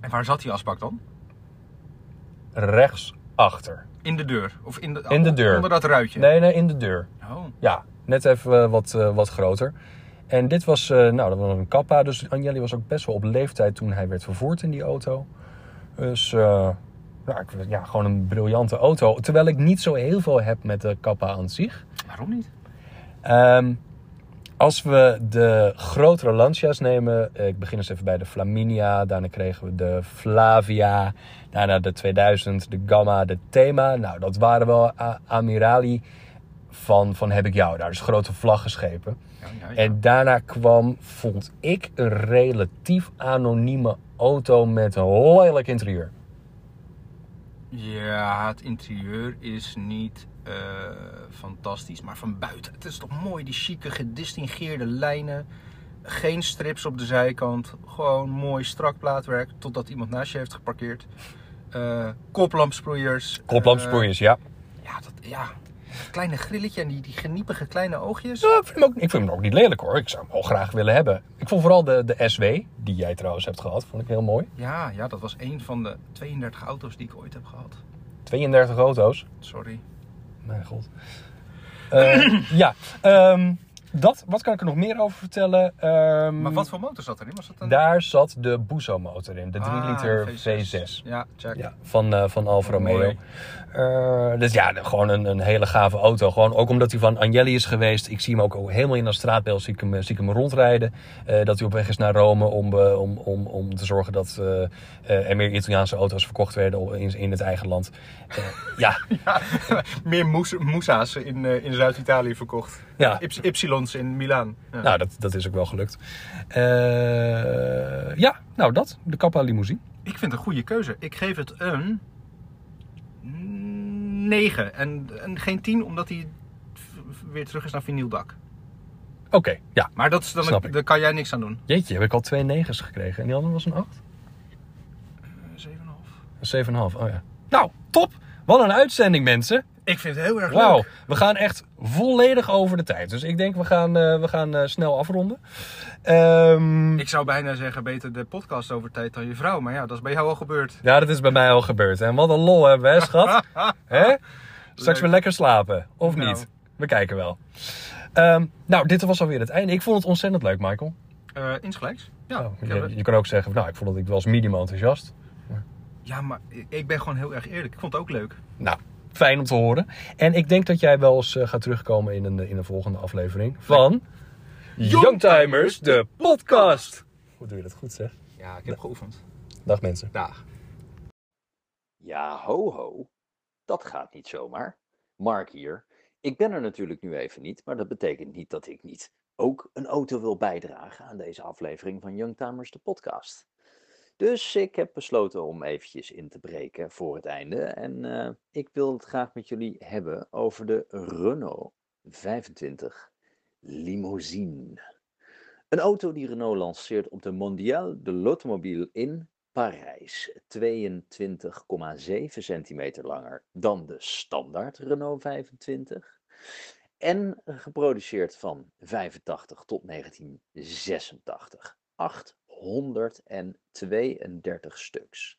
[SPEAKER 3] En waar zat die asbak dan?
[SPEAKER 2] Rechts achter.
[SPEAKER 3] In de deur. Of in de,
[SPEAKER 2] In de deur.
[SPEAKER 3] Onder dat ruitje.
[SPEAKER 2] Nee, nee, in de deur.
[SPEAKER 3] Oh.
[SPEAKER 2] Ja, net even eh, wat, eh, wat groter. En dit was, eh, nou, dat was een kappa. Dus Agnelli was ook best wel op leeftijd toen hij werd vervoerd in die auto. Dus, eh, nou, ik, ja, gewoon een briljante auto. Terwijl ik niet zo heel veel heb met de kappa aan zich.
[SPEAKER 3] Waarom niet?
[SPEAKER 2] Ehm, als we de grotere Lancia's nemen, eh, ik begin eens even bij de Flaminia, daarna kregen we de Flavia, daarna de 2000, de Gamma, de Thema. Nou, dat waren wel a- amirali van, van heb ik jou daar, dus grote vlaggenschepen.
[SPEAKER 3] Ja, ja, ja.
[SPEAKER 2] En daarna kwam, vond ik, een relatief anonieme auto met een lelijk interieur.
[SPEAKER 3] Ja, het interieur is niet eh, fantastisch, maar van buiten. Het is toch mooi, die chique gedistingeerde lijnen. Geen strips op de zijkant. Gewoon mooi strak plaatwerk, totdat iemand naast je heeft geparkeerd. Eh koplampsproeiers.
[SPEAKER 2] Koplampsproeiers, ja.
[SPEAKER 3] Eh, ja, dat, ja, dat kleine grilletje en die, die geniepige kleine oogjes.
[SPEAKER 2] Ja, ik, vind hem ook, ik vind hem ook niet lelijk hoor. Ik zou hem wel graag willen hebben. Ik vond vooral de, de SW, die jij trouwens hebt gehad, vond ik heel mooi.
[SPEAKER 3] Ja, ja, dat was een van de 32 auto's die ik ooit heb gehad.
[SPEAKER 2] 32 auto's.
[SPEAKER 3] Sorry.
[SPEAKER 2] Mijn god. Eh, ja, ehm, dat, wat kan ik er nog meer over vertellen? Ehm,
[SPEAKER 3] Maar wat voor motor zat erin? Was dat een...
[SPEAKER 2] Daar zat de Buzo motor in, de 3
[SPEAKER 3] Ah,
[SPEAKER 2] liter
[SPEAKER 3] de
[SPEAKER 2] V6.
[SPEAKER 3] Ja, check.
[SPEAKER 2] Ja, van, eh, van Alfa Romeo.
[SPEAKER 3] Mooi.
[SPEAKER 2] Eh, dus ja, de- gewoon een, een hele gave auto. Gewoon ook omdat hij van Agnelli is geweest. Ik zie hem ook, ook helemaal in dat straatbeeld zie ik hem, zie ik hem rondrijden. Eh, dat hij op weg is naar Rome om, eh, om, om, om te zorgen dat eh, eh, er meer Italiaanse auto's verkocht werden op- in, in het eigen land. Eh, ja,
[SPEAKER 3] meer moes, moesa's in, eh, in Zuid-Italië verkocht.
[SPEAKER 2] Ja.
[SPEAKER 3] Yps- Ypsilons in Milaan. Ja.
[SPEAKER 2] nou dat, dat is ook wel gelukt. Eh, ja, nou dat. De Kappa limousine.
[SPEAKER 3] Ik vind het een goede keuze. Ik geef het een 9. En, en geen 10, omdat hij v- weer terug is naar vinyldak.
[SPEAKER 2] Oké, ja.
[SPEAKER 3] Maar dat is dan,
[SPEAKER 2] Snap ik.
[SPEAKER 3] daar kan jij niks aan doen.
[SPEAKER 2] Jeetje, heb ik al twee negens gekregen. En die andere was een acht?
[SPEAKER 3] 7,5.
[SPEAKER 2] Een 7,5, oh ja. Nou, top! Wat een uitzending, mensen.
[SPEAKER 3] Ik vind het heel erg
[SPEAKER 2] Wauw,
[SPEAKER 3] leuk.
[SPEAKER 2] we gaan echt volledig over de tijd. Dus ik denk, we gaan, eh, we gaan eh, snel afronden. Ehm,
[SPEAKER 3] Ik zou bijna zeggen, beter de podcast over tijd dan je vrouw. Maar ja, dat is bij jou al gebeurd.
[SPEAKER 2] Ja, dat is bij mij al gebeurd. En wat een lol hebben we, hè, schat? hè? Straks weer lekker slapen, of
[SPEAKER 3] Nou.
[SPEAKER 2] niet? We kijken wel. Ehm, nou, dit was alweer het einde. Ik vond het ontzettend leuk, Michael.
[SPEAKER 3] Eh insgelijks. Ja,
[SPEAKER 2] Oh,
[SPEAKER 3] ik heb
[SPEAKER 2] je,
[SPEAKER 3] het.
[SPEAKER 2] je kan ook zeggen, nou, ik vond dat ik was medium enthousiast.
[SPEAKER 3] ja, maar ik- ik ben gewoon heel erg eerlijk. Ik vond het ook leuk.
[SPEAKER 2] Nou, fijn om te horen. En ik denk dat jij wel eens eh, gaat terugkomen in een, in een volgende aflevering van... Youngtimers, de podcast! Hoe doe je dat goed, zeg?
[SPEAKER 3] Ja, ik heb geoefend.
[SPEAKER 2] Dag mensen.
[SPEAKER 3] Dag.
[SPEAKER 5] Ja, ho, ho. Dat gaat niet zomaar. Mark hier. Ik ben er natuurlijk nu even niet, maar dat betekent niet dat ik niet ook een auto wil bijdragen aan deze aflevering van Youngtimers de podcast. Dus ik heb besloten om eventjes in te breken voor het einde. En eh, ik wil het graag met jullie hebben over de Renault 25 Limousine. Een auto die Renault lanceert op de Mondiale de l'Automobile in Parijs 22,7 centimeter langer dan de standaard Renault 25. En geproduceerd van 85 tot 1986. 832 stuks.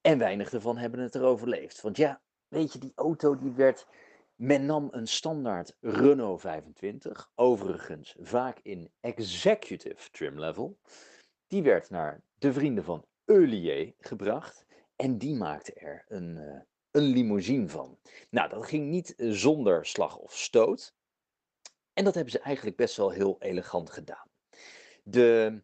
[SPEAKER 5] En weinig ervan hebben het er overleefd. Want ja, weet je, die auto die werd. Men nam een standaard Renault 25, overigens vaak in executive trim level. Die werd naar de vrienden van Eulier gebracht. En die maakte er een, eh, een limousine van. Nou, dat ging niet eh, zonder slag of stoot. En dat hebben ze eigenlijk best wel heel elegant gedaan. De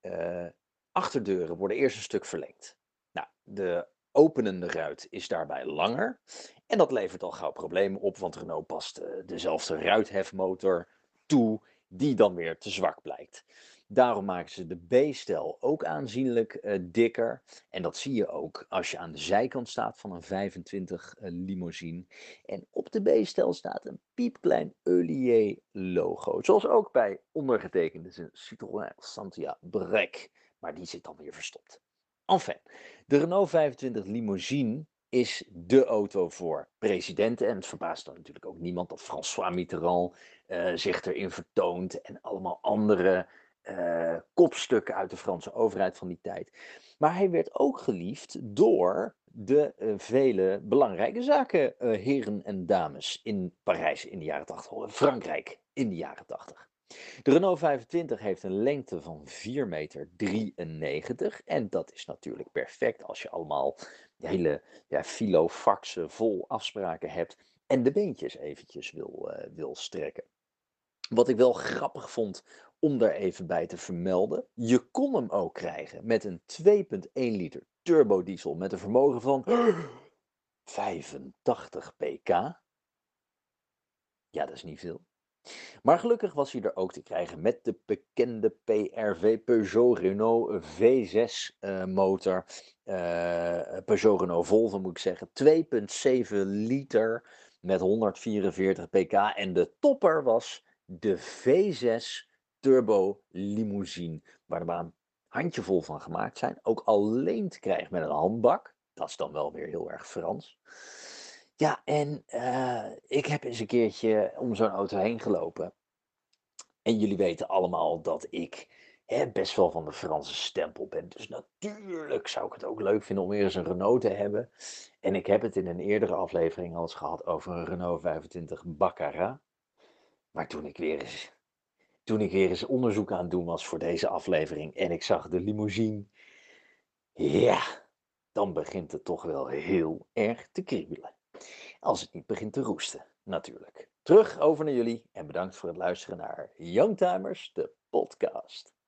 [SPEAKER 5] eh, achterdeuren worden eerst een stuk verlengd. Nou, de openende ruit is daarbij langer. En dat levert al gauw problemen op, want Renault past eh, dezelfde ruithefmotor toe, die dan weer te zwak blijkt. Daarom maken ze de B-stijl ook aanzienlijk eh, dikker. En dat zie je ook als je aan de zijkant staat van een 25 eh, limousine. En op de B-stijl staat een piepklein Eulier logo. Zoals ook bij ondergetekende zijn Citroën Santia Brek. Maar die zit dan weer verstopt. Enfin, de Renault 25 limousine is de auto voor presidenten. En het verbaast dan natuurlijk ook niemand dat François Mitterrand eh, zich erin vertoont. En allemaal andere eh, kopstukken uit de Franse overheid van die tijd. Maar hij werd ook geliefd door de eh, vele belangrijke zaken, eh, heren en dames in Parijs in de jaren 80, Frankrijk in de jaren 80. De Renault 25 heeft een lengte van 4,93 meter. En dat is natuurlijk perfect als je allemaal hele ja, filofaxen vol afspraken hebt. En de beentjes eventjes wil, eh, wil strekken. Wat ik wel grappig vond om daar even bij te vermelden. Je kon hem ook krijgen met een 2,1 liter turbodiesel met een vermogen van 85 pk. Ja, dat is niet veel. Maar gelukkig was hij er ook te krijgen met de bekende PRV Peugeot Renault V6 eh, motor. eh, Peugeot Renault Volvo moet ik zeggen. 2,7 liter met 144 pk. En de topper was de V6 Turbo Limousine. Waar maar een handjevol van gemaakt zijn. Ook alleen te krijgen met een handbak. Dat is dan wel weer heel erg Frans. Ja, en eh, ik heb eens een keertje om zo'n auto heen gelopen. En jullie weten allemaal dat ik hè, best wel van de Franse stempel ben. Dus natuurlijk zou ik het ook leuk vinden om weer eens een Renault te hebben. En ik heb het in een eerdere aflevering al eens gehad over een Renault 25 Baccarat. Maar toen ik weer eens, toen ik weer eens onderzoek aan het doen was voor deze aflevering en ik zag de limousine. Ja, dan begint het toch wel heel erg te kriebelen. Als het niet begint te roesten, natuurlijk. Terug over naar jullie en bedankt voor het luisteren naar Youngtimers, de podcast.